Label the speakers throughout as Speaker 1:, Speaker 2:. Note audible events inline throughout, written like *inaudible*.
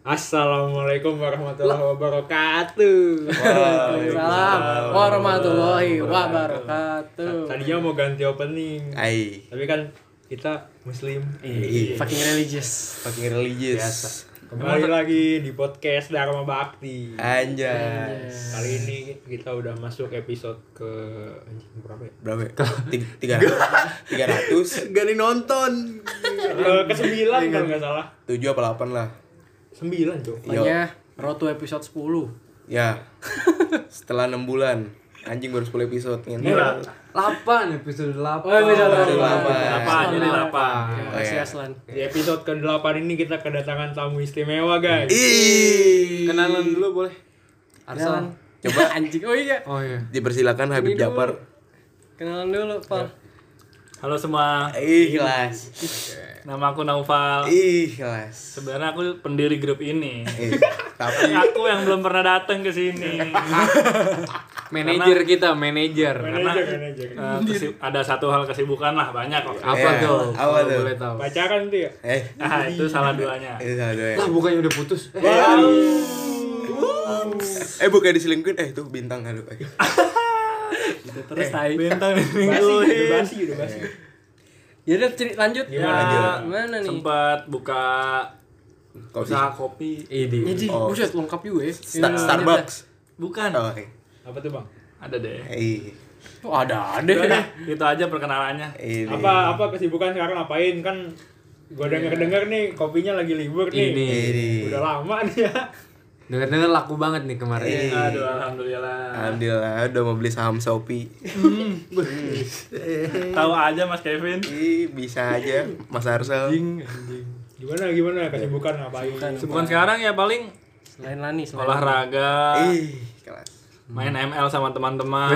Speaker 1: Assalamualaikum warahmatullahi wabarakatuh.
Speaker 2: Waalaikumsalam warahmatullahi wabarakatuh.
Speaker 1: Tadinya mau ganti opening,
Speaker 3: Ai,
Speaker 1: tapi kan kita muslim.
Speaker 2: Ih,
Speaker 4: Iya.
Speaker 2: Fucking religious.
Speaker 3: fucking religious.
Speaker 1: Kembali lagi di podcast Dharma Bakti.
Speaker 3: Anjay.
Speaker 1: Kali ini kita udah masuk episode ke anjing, berapa ya?
Speaker 3: Berapa? ya? *laughs* Ti- Tiga tiga ratus
Speaker 2: Gak nih nonton.
Speaker 4: Iya.
Speaker 1: Ke- Ke sembilan kalau nggak salah.
Speaker 3: tujuh apa delapan lah.
Speaker 1: Sembilan tuh.
Speaker 3: Yo.
Speaker 2: Pokoknya Road to episode 10.
Speaker 3: *laughs* Ya. Setelah enam bulan, anjing baru 10 episode ngene.
Speaker 1: Iya.
Speaker 5: 8 episode
Speaker 4: iya,
Speaker 5: 8.
Speaker 2: Oh, episode
Speaker 3: Episode
Speaker 2: delapan.
Speaker 3: delapan.
Speaker 5: Jadi delapan.
Speaker 2: Terima kasih Aslan.
Speaker 1: Di episode ke delapan ini kita kedatangan tamu istimewa guys.
Speaker 4: Iya.
Speaker 3: Ih.
Speaker 5: Kenalan dulu boleh.
Speaker 2: Kenalan.
Speaker 5: Arslan.
Speaker 2: Coba *laughs* anjing. Oh iya.
Speaker 5: Oh iya.
Speaker 3: Dipersilakan
Speaker 2: Ini
Speaker 3: Habib
Speaker 2: dulu.
Speaker 3: Jafar.
Speaker 2: Kenalan dulu, Pal.
Speaker 4: Halo semua,
Speaker 3: Ikhlas.
Speaker 4: nama aku Naufal.
Speaker 3: Ikhlas.
Speaker 4: Sebenarnya aku pendiri grup ini.
Speaker 3: Eh,
Speaker 1: *laughs*
Speaker 3: Tapi
Speaker 4: Aku yang belum pernah datang ke sini.
Speaker 1: Iya,
Speaker 5: Manajer kita, manajer.
Speaker 4: Karena
Speaker 1: Manajer, manajer.
Speaker 4: eh, kesi- ada satu hal kesibukan lah banyak kok.
Speaker 5: Apa
Speaker 3: Iya,
Speaker 5: tuh?
Speaker 3: apa
Speaker 5: Kalau
Speaker 3: tuh?
Speaker 5: Boleh tahu.
Speaker 1: Pacaran tuh ya?
Speaker 3: eh
Speaker 4: Ah, itu salah duanya.
Speaker 3: itu salah dua ya.
Speaker 5: Lah bukannya udah putus. Eh,
Speaker 3: Eh bukan diselingkuhin, eh tuh bintang Eh, halo. Eh.
Speaker 2: Terus tai.
Speaker 4: Bintang
Speaker 1: Basi,
Speaker 4: minggu
Speaker 1: udah basi, udah basi.
Speaker 2: Ya udah ceri- lanjut.
Speaker 4: Ya,
Speaker 2: Gimana nih?
Speaker 4: sempat buka
Speaker 3: Kopi.
Speaker 4: usaha kopi.
Speaker 5: Idi.
Speaker 1: Iya.
Speaker 2: Jadi, Iya,
Speaker 3: Oh.
Speaker 2: buset lengkap juga ya.
Speaker 3: Sta- Starbucks.
Speaker 4: Bukan,
Speaker 3: Oh, eh.
Speaker 1: Apa tuh bang?
Speaker 4: ada deh.
Speaker 3: Eh,
Speaker 2: Oh, ada ada.
Speaker 4: Udah deh, itu aja perkenalannya.
Speaker 3: Ini.
Speaker 1: apa apa kesibukan sekarang ngapain kan gua denger denger nih kopinya lagi libur nih
Speaker 3: Iya,
Speaker 5: Ini.
Speaker 3: Ini.
Speaker 1: udah lama nih ya
Speaker 5: Dengar-dengar laku banget nih
Speaker 2: ya?
Speaker 5: kemarin.
Speaker 2: Iya.
Speaker 3: Eh.
Speaker 4: Aduh, alhamdulillah.
Speaker 3: Alhamdulillah udah mau beli saham Shopee.
Speaker 4: Tahu aja Mas Kevin.
Speaker 3: Ih, bisa aja Mas Arsel.
Speaker 1: gimana gimana kesibukan ngapain
Speaker 4: Bukan sekarang ya paling
Speaker 2: Selain Lani, selain
Speaker 4: olahraga.
Speaker 3: Ih, kelas.
Speaker 4: main ML sama teman-teman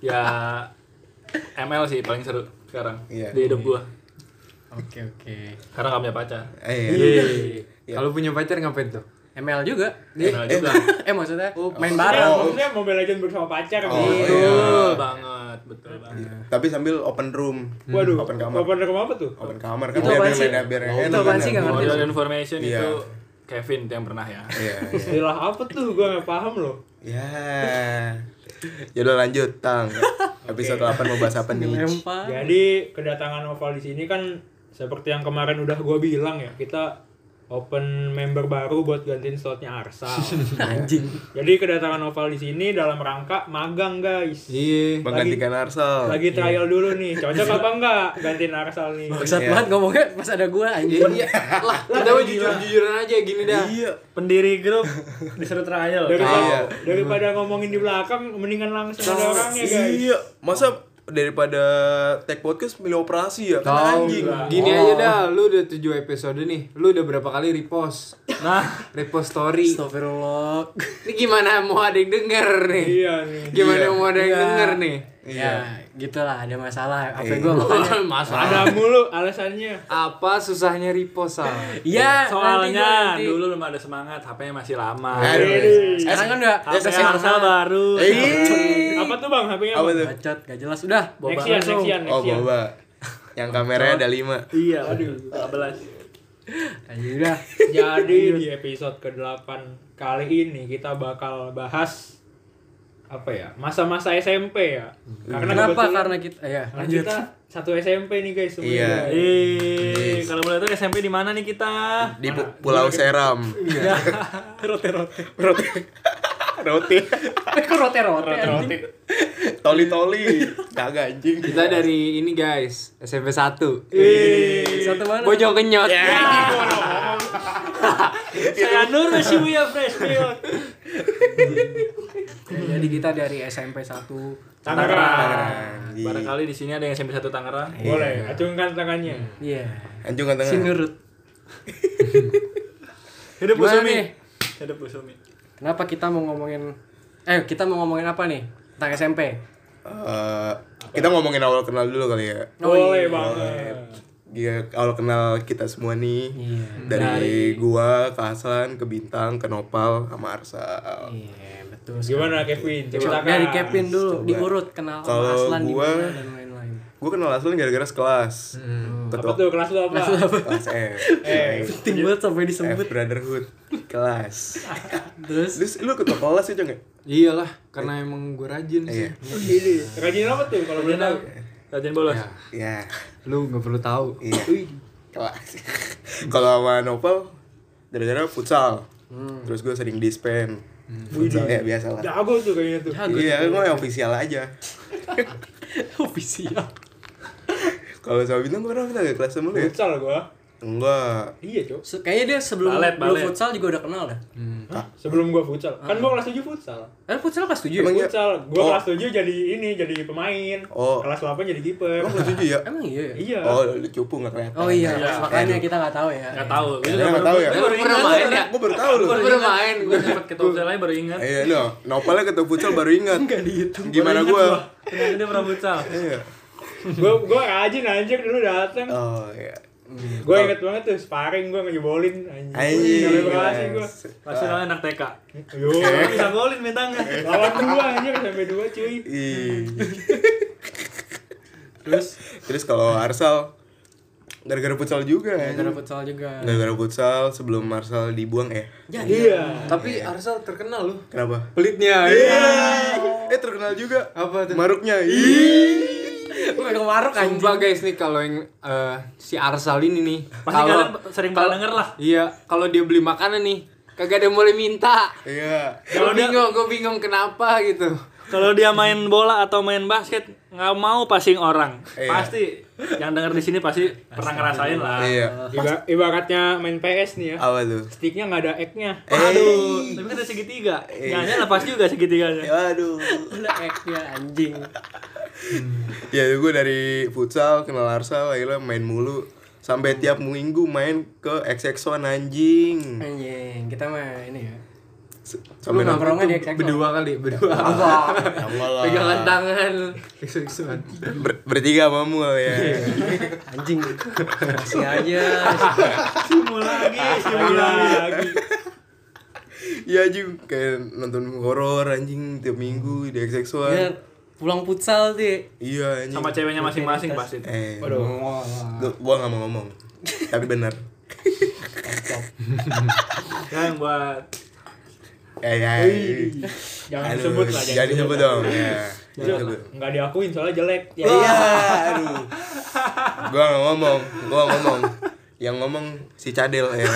Speaker 3: Iya.
Speaker 4: ya ML sih paling seru sekarang
Speaker 3: Iya.
Speaker 4: di hidup gua
Speaker 5: Oke, oke.
Speaker 4: karena gak punya pacar
Speaker 3: Eh,
Speaker 2: iya,
Speaker 5: Kalau punya pacar ngapain tuh?
Speaker 2: ML juga.
Speaker 3: Iya.
Speaker 4: ML juga
Speaker 2: *laughs* Eh maksudnya
Speaker 5: Oh,
Speaker 2: main
Speaker 1: Maksudnya-
Speaker 2: bareng.
Speaker 1: maksudnya Mobile Legends bersama pacar
Speaker 3: Oh,
Speaker 1: gitu.
Speaker 3: iya.
Speaker 4: betul banget betul
Speaker 5: Iya.
Speaker 4: banget
Speaker 3: Tapi sambil open room.
Speaker 1: Hmm. waduh
Speaker 3: Open kamar.
Speaker 1: open kamar apa tuh
Speaker 3: Open kamar kan
Speaker 2: Itu
Speaker 3: biar
Speaker 2: apaan
Speaker 3: biar
Speaker 2: sih?
Speaker 3: biar- biar
Speaker 2: Itu
Speaker 3: enak.
Speaker 2: apaan
Speaker 3: kan?
Speaker 2: sih? Nggak ngerti.
Speaker 4: Model information
Speaker 3: Iya.
Speaker 4: itu Kevin yang pernah ya
Speaker 3: Iya. iya.
Speaker 1: istilah apa tuh gua nggak paham loh
Speaker 3: Ya. Ya udah lanjut, Tang. Episode 8 mau bahas apa nih?
Speaker 2: Lempar.
Speaker 1: jadi kedatangan Oval di sini kan seperti yang kemarin udah gua bilang ya kita open member baru buat gantiin slotnya
Speaker 3: *laughs*
Speaker 1: Arsal
Speaker 2: Anjing.
Speaker 1: jadi kedatangan Oval di sini dalam rangka magang guys
Speaker 5: Iya.
Speaker 3: Menggantikan Arsel.
Speaker 1: lagi trial dulu nih cocok apa enggak gantiin Arsal nih
Speaker 2: Bangsat
Speaker 3: Iya.
Speaker 2: banget ngomongnya pas ada gua anjing.
Speaker 5: Iya. Lah, Iya. kita mah jujur-jujuran aja gini dah.
Speaker 4: pendiri grup disuruh trial
Speaker 1: daripada,
Speaker 3: Iya.
Speaker 1: daripada ngomongin di belakang mendingan langsung ada orangnya guys
Speaker 3: Iya, masa daripada tag podcast milih operasi ya? Kan
Speaker 5: Tahu
Speaker 3: anjing.
Speaker 5: gini
Speaker 4: Oh.
Speaker 5: aja dah, lu udah 7 episode nih. Lu udah berapa kali repost?
Speaker 4: nah
Speaker 5: Repost story.
Speaker 2: Astagfirullah.
Speaker 5: Ini gimana mau ada yang denger nih?
Speaker 1: iya nih
Speaker 5: Gimana
Speaker 3: Iya.
Speaker 5: mau ada yang denger nih? Iya.
Speaker 2: Ya, gitulah ada masalah. Apa gua ngomongnya?
Speaker 5: Masalah.
Speaker 3: Iya.
Speaker 1: ada mulu alasannya
Speaker 5: Apa susahnya repost Sal?
Speaker 4: Eh,
Speaker 2: Iya, nanti,
Speaker 4: soalnya
Speaker 2: nanti.
Speaker 4: dulu belum ada semangat HP-nya masih lama
Speaker 3: Aduh.
Speaker 2: Sekarang kan udah
Speaker 4: HP Arsal baru
Speaker 5: Eh.
Speaker 3: Ih.
Speaker 1: apa tuh bang HP-nya
Speaker 3: Apa
Speaker 1: bang?
Speaker 3: tuh?
Speaker 2: bacot gak jelas udah.
Speaker 1: Nexian Nexian
Speaker 3: Oh,
Speaker 1: Nexian
Speaker 3: boba. Yang kameranya ada 5.
Speaker 4: iya aduh 14
Speaker 2: Anjing Ah, iya udah.
Speaker 1: jadi di episode ke-8 kali ini kita bakal bahas apa ya masa-masa SMP ya
Speaker 3: Iya.
Speaker 1: karena
Speaker 2: Kenapa?
Speaker 1: kebetulan-
Speaker 2: Karena kita ya,
Speaker 1: karena
Speaker 2: lanjut.
Speaker 1: kita satu SMP nih guys semuanya
Speaker 3: Iya.
Speaker 1: guys.
Speaker 4: Eh, kalau boleh tahu SMP di mana nih kita?
Speaker 3: di pu- Pulau Seram. *laughs* rote rote. rote.
Speaker 2: Eh, *laughs* Kok rote-rote
Speaker 1: Roti-roti.
Speaker 2: anjing.
Speaker 3: Toli toli. Kagak anjing.
Speaker 5: Kita dari ini guys, SMP 1.
Speaker 2: Satu mana? Ya.
Speaker 5: Pojok kenyot.
Speaker 1: Ya, *laughs*
Speaker 4: Saya Nur Shibuya Fresh Milk.
Speaker 2: Ya, Jadi kita dari SMP 1
Speaker 1: Tangerang
Speaker 3: Anjing.
Speaker 4: Barangkali di sini ada yang SMP 1 Tangerang.
Speaker 3: Iya.
Speaker 5: Eh,
Speaker 1: boleh acungkan tangannya
Speaker 3: Hmm.
Speaker 2: Iya.
Speaker 3: Anjing kan
Speaker 2: Si
Speaker 3: tengah.
Speaker 2: nurut.
Speaker 4: Hidup
Speaker 2: Gimana
Speaker 4: Busumi.
Speaker 2: nih?
Speaker 4: Hidup Busumi.
Speaker 2: Kenapa kita mau ngomongin eh kita mau ngomongin apa nih? Tentang SMP.
Speaker 3: Eh, kita ngomongin awal kenal dulu kali ya.
Speaker 1: boleh banget
Speaker 3: Dia awal kenal kita semua nih.
Speaker 2: Iya.
Speaker 3: Dari gua ke Hasan, ke Bintang, ke Nopal, sama Arsal.
Speaker 2: Iya, betul.
Speaker 1: gimana Kevin
Speaker 2: Coba
Speaker 1: ceritakan
Speaker 2: dari Kevin dulu
Speaker 3: Coba.
Speaker 2: diurut kenal sama
Speaker 3: Kalau
Speaker 2: Aslan di
Speaker 3: gua-
Speaker 2: mana dan lain-lain.
Speaker 3: gue kenal Aslin gara-gara sekelas.
Speaker 1: Apa
Speaker 3: Ketua
Speaker 1: tuh kelas lu apa?
Speaker 3: kelas F.
Speaker 1: Eh,
Speaker 2: penting banget sampai
Speaker 3: F
Speaker 2: disebut
Speaker 3: Brotherhood kelas.
Speaker 2: terus
Speaker 3: Terus lu ketua kelas ya, Cong? ya?
Speaker 5: Iyalah, karena emang gue rajin sih.
Speaker 3: Iya.
Speaker 1: ini rajin apa tuh kalau boleh tahu?
Speaker 4: Rajin bolos.
Speaker 5: Ya.
Speaker 3: Iya.
Speaker 5: Lu nggak perlu tahu.
Speaker 3: Iya. Kelas. Kalau sama Nopal gara-gara futsal. Terus gue sering dispen. Futsal ya biasa lah.
Speaker 1: Jago tuh kayaknya tuh.
Speaker 3: Iya, gue official aja.
Speaker 2: *laughs* official
Speaker 3: Kalau sama Bintang gue pernah nggak kelas sama lu ya?
Speaker 1: Futsal gua.
Speaker 3: Enggak.
Speaker 1: Iya, Cok.
Speaker 2: Se- kayaknya dia sebelum
Speaker 4: Balet,
Speaker 2: lu
Speaker 4: balet.
Speaker 2: futsal juga udah kenal dah
Speaker 1: Sebelum gua futsal. Kan gua kelas 7 futsal.
Speaker 2: kan futsal kelas 7
Speaker 3: Ah. Emang
Speaker 2: ya?
Speaker 3: iya?
Speaker 1: Futsal. Gua
Speaker 3: Oh.
Speaker 1: kelas 7 jadi ini, jadi pemain.
Speaker 3: Oh.
Speaker 1: Kelas 8 jadi kiper.
Speaker 3: Emang lu setuju ya?
Speaker 2: emang iya ya?
Speaker 1: Iya.
Speaker 3: Oh, lu cupu nggak kelihatan.
Speaker 2: oh iya
Speaker 4: Iya.
Speaker 2: makanya kita nggak tahu ya
Speaker 4: Gak tau.
Speaker 3: Lu nggak tahu ya?
Speaker 4: Baru
Speaker 5: Pernah
Speaker 4: ingat.
Speaker 5: main ya?
Speaker 3: Gue baru tahu lu.
Speaker 4: Gue
Speaker 5: Pernah
Speaker 4: baru main.
Speaker 5: main,
Speaker 4: Gue sempet ketemu saya lain baru ingat.
Speaker 5: Eh.
Speaker 3: Iya, no. Nopalnya ketemu futsal baru ingat.
Speaker 2: nggak dihitung
Speaker 3: Gimana gue?
Speaker 4: Ternyata dia pernah futsal.
Speaker 3: Iya.
Speaker 1: gua gua rajin anjir dulu datang.
Speaker 3: Oh iya.
Speaker 1: Gua inget banget tuh sparring gua ngejebolin anjing. Sampai
Speaker 3: Anjing.
Speaker 1: berhasil gua.
Speaker 4: Pasti namanya anak TK.
Speaker 1: Yo,
Speaker 4: Bisa golin bintangnya.
Speaker 1: lawan dua anjir sampai dua cuy.
Speaker 3: Ih.
Speaker 2: terus
Speaker 3: Terus kalau Arsal gara-gara futsal juga
Speaker 2: gara
Speaker 3: kan.
Speaker 2: futsal juga
Speaker 3: Gara-gara futsal sebelum Arsal dibuang eh.
Speaker 2: ya
Speaker 1: Iya.
Speaker 5: Tapi Arsal terkenal loh.
Speaker 3: Kenapa?
Speaker 5: Pelitnya.
Speaker 3: Eh terkenal juga.
Speaker 5: Apa tuh?
Speaker 3: Maruknya. Ih.
Speaker 2: gue pegang warung anjing
Speaker 5: Sumpah guys nih kalau yang eh, si Arsal ini nih.
Speaker 4: Pasti
Speaker 5: kalau-
Speaker 4: kalian sering pernah
Speaker 5: kalau-
Speaker 4: denger lah.
Speaker 5: Iya, kalau dia beli makanan nih kagak ada yang boleh minta.
Speaker 3: Iya.
Speaker 5: Gue bingung, gue bingung kenapa gitu.
Speaker 4: Kalau dia main bola atau main basket nggak mau passing orang.
Speaker 3: Iya.
Speaker 4: Pasti yang denger di sini pasti pernah ngerasain lah.
Speaker 3: Iya.
Speaker 1: Iba- ibaratnya main PS nih ya.
Speaker 3: Apa tuh?
Speaker 1: Sticknya nggak ada egg-nya.
Speaker 3: Eh.
Speaker 4: Aduh, tapi kan ada segitiga. Jangan lepas juga segitiganya.
Speaker 3: Ya aduh.
Speaker 2: ada eknya eh, anjing
Speaker 3: Ya gue dari futsal kenal Arsal akhirnya main mulu sampai tiap minggu main ke XX1 anjing.
Speaker 2: anjing kita mah ini ya
Speaker 3: S-
Speaker 5: Lu
Speaker 3: Sampai nang-
Speaker 2: nongkrongnya di
Speaker 5: nongkrong
Speaker 2: eksektor.
Speaker 5: berdua kali, berdua.
Speaker 3: Nambah lah.
Speaker 2: Ah.
Speaker 5: Pegangan tangan. Iksu-iksuan.
Speaker 3: Ber- bertiga mamu ya.
Speaker 2: anjing masih aja
Speaker 4: Simul lagi, simul lagi.
Speaker 3: Iya anjing kayak nonton horor anjing tiap minggu di XX1.
Speaker 2: ya pulang futsal sih
Speaker 3: Iya anjing.
Speaker 4: Sama ceweknya masing-masing pasti.
Speaker 3: Eh,
Speaker 1: Waduh.
Speaker 3: gua, gua gak mau ngomong. Tapi benar.
Speaker 4: Yang
Speaker 5: Eh.
Speaker 4: buat
Speaker 3: Ya ya.
Speaker 1: Jangan
Speaker 3: Aduh,
Speaker 1: disebut lah.
Speaker 3: Jangan disebut dong. Ya. Jangan
Speaker 1: Jangan
Speaker 3: disebut.
Speaker 1: disebut. Iya, Nggak diakuin soalnya jelek. Ya.
Speaker 3: Iya, aduh. Gua gak ngomong, gua gak ngomong. Yang ngomong si Cadel ya.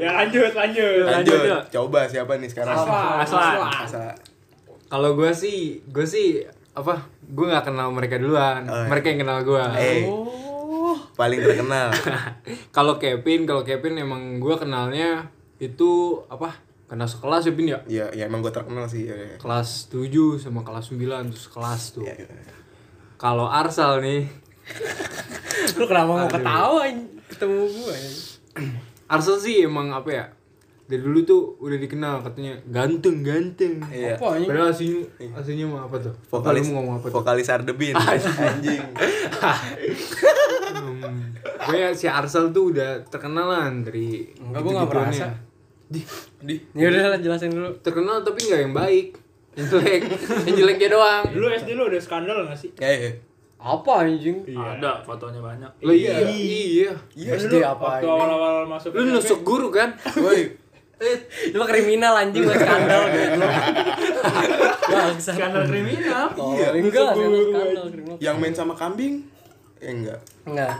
Speaker 1: Ya lanjut, lanjut.
Speaker 3: Lanjut,
Speaker 4: Lanjut.
Speaker 3: coba siapa nih sekarang?
Speaker 4: Aslan.
Speaker 3: Asal.
Speaker 5: Kalau gue sih, gue sih apa? Gue nggak kenal mereka duluan.
Speaker 3: Oh, iya.
Speaker 5: Mereka yang kenal gue.
Speaker 3: Eh, paling terkenal.
Speaker 5: kalau Kevin, kalau Kevin emang gue kenalnya itu apa? Kena sekelas ya Pin ya?
Speaker 3: Ya, ya emang gua terkenal sih. Ya, ya.
Speaker 5: Kelas 7 sama kelas 9 terus kelas tuh.
Speaker 3: Ya, ya.
Speaker 5: Kalau Arsal nih,
Speaker 2: lu kenapa mau ketawa anjing? ketemu gue
Speaker 5: Arsel sih emang apa ya? Dari dulu tuh udah dikenal katanya ganteng ganteng.
Speaker 3: Iya.
Speaker 2: Apa anjing?
Speaker 5: Padahal aslinya aslinya mah apa tuh?
Speaker 3: Vokalis
Speaker 5: Lu mau ngomong apa tuh?
Speaker 3: Vokalis Ardebin. Anjing.
Speaker 5: Gue ya si Arsel tuh udah terkenalan dari
Speaker 2: Enggak, gua nggak
Speaker 5: gitu-gituannya.
Speaker 2: merasa. ya udah lah jelasin dulu
Speaker 5: Terkenal tapi nggak yang baik. Yang jelek, yang jeleknya doang.
Speaker 1: Dulu SD lu udah skandal nggak sih? Iya.
Speaker 3: Ya, ya.
Speaker 2: apa anjing
Speaker 4: ada fotonya banyak.
Speaker 5: Lo iya, iya.
Speaker 3: Iya.
Speaker 2: SD
Speaker 1: Dulu
Speaker 2: apa
Speaker 1: waktu
Speaker 2: ini?
Speaker 1: awal-awal masuk
Speaker 5: Lu
Speaker 1: SMP,
Speaker 5: nusuk guru kan?
Speaker 3: Woi,
Speaker 2: lu mah kriminal anjing buat *laughs* skandal gitu lu bangsa
Speaker 4: Skandal
Speaker 5: Hmm.
Speaker 4: kriminal.
Speaker 2: iya enggak lah
Speaker 1: guru,
Speaker 2: skandal kriminal
Speaker 3: yang main sama kambing? Eh, enggak.
Speaker 2: enggak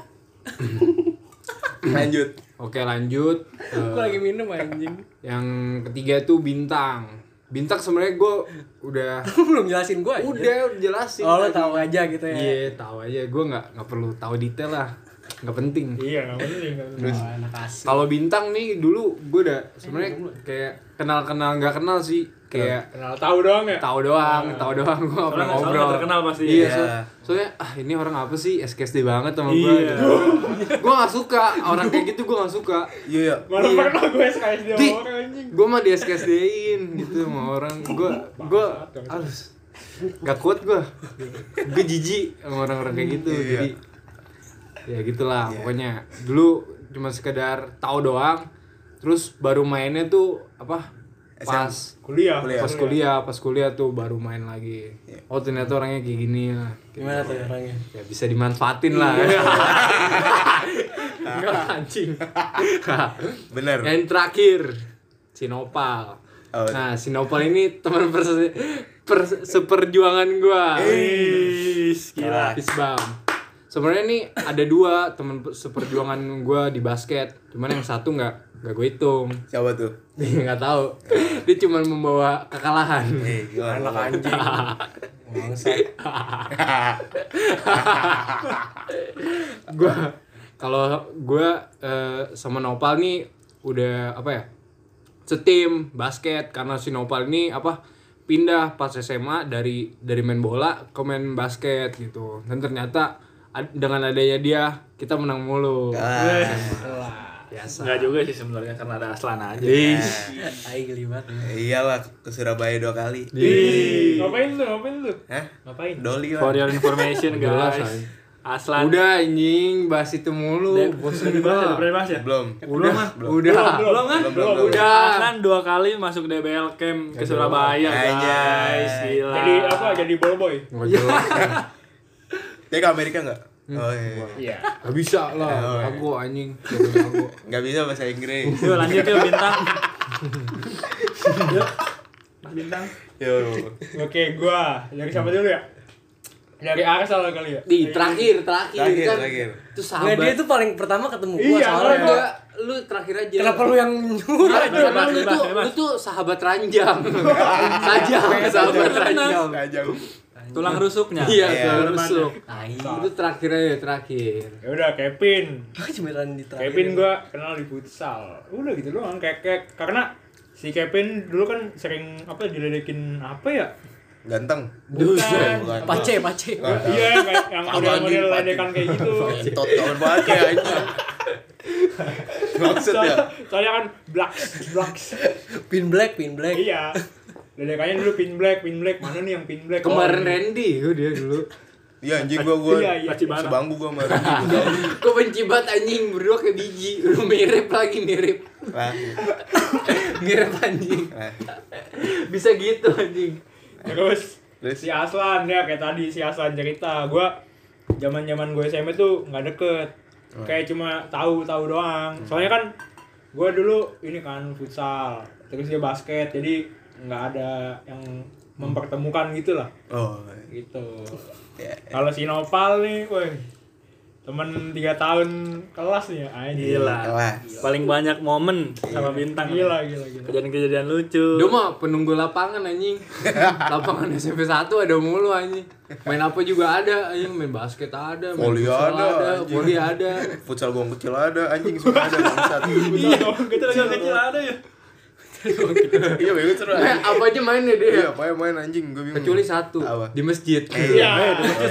Speaker 3: Lanjut.
Speaker 5: Oke lanjut. Eh,
Speaker 2: gue lagi minum anjing
Speaker 5: yang ketiga tuh bintang. Bintang sebenarnya gue udah
Speaker 2: lu *laughs* belum jelasin gue
Speaker 5: udah jelasin.
Speaker 2: oh lu
Speaker 5: tadi.
Speaker 2: tahu aja gitu ya
Speaker 5: Iya, tahu aja. Gue nggak nggak perlu tahu detail lah. Nggak penting.
Speaker 1: Iya, nggak penting. nggak penting.
Speaker 2: Wah, enak asik
Speaker 5: Kalau bintang nih dulu gue udah sebenarnya kayak kenal-kenal nggak kenal sih, kayak
Speaker 1: Kenal tahu doang ya?
Speaker 5: tahu doang, tahu doang gue nggak
Speaker 4: Hmm. Soalnya nggak-
Speaker 5: pernah
Speaker 4: soalnya
Speaker 5: ngobrol.
Speaker 4: nggak terkenal pasti.
Speaker 5: Iya,
Speaker 4: Iya.
Speaker 5: so- soalnya ah ini orang apa sih SKSD banget sama gue.
Speaker 4: Iya.
Speaker 5: gue nggak suka orang kayak gitu gue nggak suka.
Speaker 3: Iya, iya.
Speaker 1: Malah
Speaker 5: Iya.
Speaker 1: pernah gue SKS dia
Speaker 5: Di-
Speaker 1: orang anjing.
Speaker 5: Gue mah di SKSD-in gitu sama orang. Gue gue harus nggak kuat gue. Gue jijik sama orang-orang kayak gitu.
Speaker 3: Iya.
Speaker 5: Jadi ya gitulah
Speaker 3: Iya.
Speaker 5: pokoknya. Dulu cuma sekedar tahu doang. Terus baru mainnya tuh apa? pas
Speaker 1: Kuliah.
Speaker 3: Kuliah.
Speaker 5: pas kuliah pas kuliah tuh baru main lagi
Speaker 3: Iya.
Speaker 5: oh ternyata orangnya kayak gini lah
Speaker 2: Gimana tuh orangnya?
Speaker 5: ya bisa dimanfaatin lah
Speaker 3: Iya.
Speaker 5: *laughs* enggak lah, anjing *laughs*
Speaker 3: Bener.
Speaker 5: yang terakhir Sinopal
Speaker 3: Oh.
Speaker 5: nah Sinopal ini teman perse per- seperjuangan gua
Speaker 3: Eish, Eh, gila.
Speaker 5: Fisbam sebenarnya ini ada dua teman per- seperjuangan gua di basket cuman yang satu nggak nggak gue hitung *laughs*
Speaker 3: Siapa tuh?
Speaker 5: nggak tahu dia cuman membawa kekalahan
Speaker 3: Eh, gimana?
Speaker 2: Anak
Speaker 3: *laughs*
Speaker 2: anjing. Bangsa.
Speaker 5: *laughs* gua kalau gua eh, sama Nopal nih udah apa ya setim basket karena si Nopal ini apa pindah pas SMA dari dari main bola ke main basket gitu dan ternyata ad- dengan adanya dia kita menang mulu biasa
Speaker 4: Enggak juga sih sebenarnya karena ada Aslan aja. Iya.
Speaker 2: Tai geli banget.
Speaker 3: Iyalah ke Surabaya dua kali.
Speaker 1: Iya.
Speaker 5: Iya,
Speaker 1: Ih, Ngapain lu? Ngapain lu?
Speaker 3: Hah?
Speaker 1: Ngapain?
Speaker 3: Doli
Speaker 4: For
Speaker 3: lah.
Speaker 4: your information
Speaker 5: Jelas,
Speaker 4: Iya, guys.
Speaker 5: ay.
Speaker 4: Aslan
Speaker 5: udah anjing bahas itu mulu
Speaker 1: Bahas ya,
Speaker 5: bosan gua
Speaker 1: pernah bahas ya?
Speaker 3: Belum.
Speaker 1: Belum ah.
Speaker 5: udah
Speaker 1: Belum kan?
Speaker 3: Belum, belum, belum.
Speaker 5: udah
Speaker 4: Aslan dua kali masuk DBL Camp ke Surabaya guys. Gila.
Speaker 1: Jadi apa? Jadi ball boy.
Speaker 5: nggak jelas
Speaker 3: Dia ke Amerika nggak? Oh
Speaker 1: Iya.
Speaker 3: iya.
Speaker 5: nggak bisa lah aku anjing jago-jago.
Speaker 3: Nggak bisa bahasa
Speaker 4: *laughs*
Speaker 3: Inggris.
Speaker 4: Yuk lanjut yuk bintang.
Speaker 1: Mas Bintang.
Speaker 3: Yo.
Speaker 1: Oke, gua. Dari siapa dulu ya? Dari Arsal kali ya?
Speaker 5: Di terakhir, terakhir,
Speaker 3: Terakhir,
Speaker 5: kan.
Speaker 3: terakhir.
Speaker 5: Itu
Speaker 2: Nggak,
Speaker 5: sahabat.
Speaker 2: Nah, dia tuh paling pertama ketemu gua Iya,
Speaker 1: Iya,
Speaker 2: soalnya.
Speaker 1: makanya.
Speaker 5: Enggak, lu terakhir aja.
Speaker 2: Kenapa lu yang nyuruh?
Speaker 5: Enggak,
Speaker 4: Bebas,
Speaker 5: karena lu
Speaker 4: bebas,
Speaker 5: tuh,
Speaker 4: bebas.
Speaker 5: lu tuh sahabat ranjang. Saja, sahabat ranjang.
Speaker 3: Iya, Tajam.
Speaker 4: Tulang rusuknya.
Speaker 5: Iya,
Speaker 3: Iya,
Speaker 5: yeah,
Speaker 1: lu
Speaker 5: rusuk.
Speaker 2: Tai.
Speaker 5: Itu terakhir aja, terakhir.
Speaker 1: Ya udah Kevin.
Speaker 2: Cemeran di terakhir. ya.
Speaker 1: Kevin gua kenal di futsal. Udah gitu doang kayak kayak karena si Kevin dulu kan sering apa diledekin apa ya? Kan.
Speaker 3: Ganteng.
Speaker 2: Buset.
Speaker 3: Bukan.
Speaker 2: Pace, pace.
Speaker 1: Iya, kayak yang
Speaker 3: Apaan
Speaker 1: model-model
Speaker 3: nih, Pak?
Speaker 1: ledekan kayak
Speaker 3: *laughs*
Speaker 1: gitu.
Speaker 3: Entot tahun pakai aja. Maksud ya?
Speaker 1: Soalnya, soalnya kan blacks, blacks.
Speaker 2: Pin black, pin black.
Speaker 1: iya. Ledekannya dulu pin black, pin black. Mana nih yang pin black?
Speaker 5: Kemarin
Speaker 1: Oh,
Speaker 5: Randy, oh dia dulu.
Speaker 3: Iya anjing gua gua
Speaker 1: Iya, iya.
Speaker 3: sebangku gua sama Randy, gua tahu.
Speaker 5: Kok benci banget anjing berdua kayak biji. *laughs* Lu mirip lagi mirip.
Speaker 3: Lah,
Speaker 5: Mirip anjing.
Speaker 3: lah.
Speaker 5: Bisa gitu anjing.
Speaker 1: Terus
Speaker 3: Terus?
Speaker 1: si Aslan ya kayak tadi si Aslan cerita gua zaman-zaman gue SMP tuh nggak deket
Speaker 4: Oh.
Speaker 1: kayak cuma tahu-tahu doang
Speaker 4: Hmm.
Speaker 1: soalnya kan gua dulu ini kan futsal terus dia basket jadi nggak ada yang mempertemukan gitu lah
Speaker 3: Oh.
Speaker 1: gitu
Speaker 3: Ya.
Speaker 1: kalau si Nopal nih woi temen tiga tahun kelas nih ya anjir.
Speaker 4: Gila.
Speaker 3: Kelas.
Speaker 4: Paling banyak momen sama bintang.
Speaker 1: gila gila gila
Speaker 4: Kejadian-kejadian lucu.
Speaker 5: Dia mah penunggu lapangan anjing. Lapangan *laughs* SMP 1 ada mulu anjing. Main apa juga ada anjing, main basket ada, main
Speaker 3: Volley
Speaker 5: futsal
Speaker 3: ada,
Speaker 5: ada,
Speaker 3: anjing.
Speaker 5: volley ada.
Speaker 3: Futsal gong kecil ada, anjing semua ada bangsat.
Speaker 1: Futsal doang gitu.
Speaker 4: Kecil kecil ada ya.
Speaker 3: Iya, bego seru.
Speaker 5: Eh, apa aja mainnya
Speaker 3: Iya,
Speaker 5: dia?
Speaker 3: apa yang main anjing gua bingung.
Speaker 5: Kecuali satu
Speaker 3: Apa? Eh,
Speaker 5: di masjid.
Speaker 1: Iya.
Speaker 4: Itu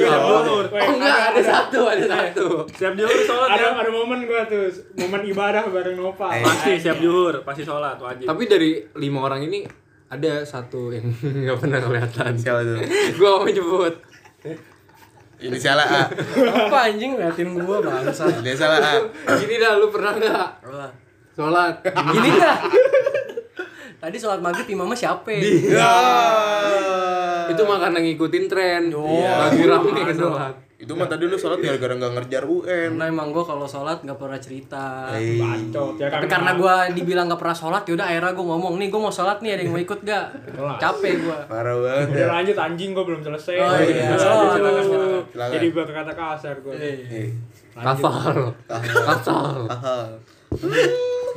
Speaker 1: Iya,
Speaker 4: sholat
Speaker 1: sholat.
Speaker 4: zuhur.
Speaker 1: Woi,
Speaker 5: Oh enggak, ada
Speaker 1: ada-
Speaker 5: satu, ada satu.
Speaker 4: Siap juhur sholat
Speaker 1: ada
Speaker 4: ya.
Speaker 1: ada momen gua tuh momen ibadah bareng Nopal
Speaker 3: Eh.
Speaker 4: Pasti siap juhur, pasti sholat wajib.
Speaker 5: Tapi dari lima orang ini ada satu yang *laughs* nggak pernah kelihatan.
Speaker 3: Siapa tuh?
Speaker 5: Gua mau nyebut.
Speaker 3: Ini salah A.
Speaker 2: Apa anjing ngeliatin gua bangsa.
Speaker 3: Ini salah A.
Speaker 5: Gini dah, lu pernah nggak sholat?
Speaker 2: Gini dah. Tadi sholat maghrib imamnya siapa?
Speaker 3: Ya.
Speaker 5: Iya. Itu mah karena ngikutin tren. Iya.
Speaker 2: Iya.
Speaker 5: Lagi rame sholat.
Speaker 3: Itu mah tadi lu salah gara-gara enggak ngerjar UN.
Speaker 2: Karena emang gua kalau sholat nggak pernah cerita.
Speaker 5: Iya.
Speaker 3: Eh.
Speaker 1: bacot ya
Speaker 2: Tapi karena gua dibilang nggak pernah sholat, yaudah akhirnya gua ngomong nih gua mau sholat nih ada yang mau ikut gak? Capek gua.
Speaker 3: Parah banget
Speaker 1: udah
Speaker 3: ya.
Speaker 1: lanjut anjing gua belum selesai
Speaker 2: Oh, iya. iya.
Speaker 1: Lanjut,
Speaker 2: Silakan,
Speaker 1: silakan,
Speaker 2: silakan.
Speaker 1: silakan.
Speaker 3: Silakan.
Speaker 1: jadi berkata kasar gua
Speaker 3: Eh.
Speaker 1: Lanjut.
Speaker 5: Kafal.
Speaker 2: Iya.
Speaker 5: Kafal.
Speaker 3: Ahal.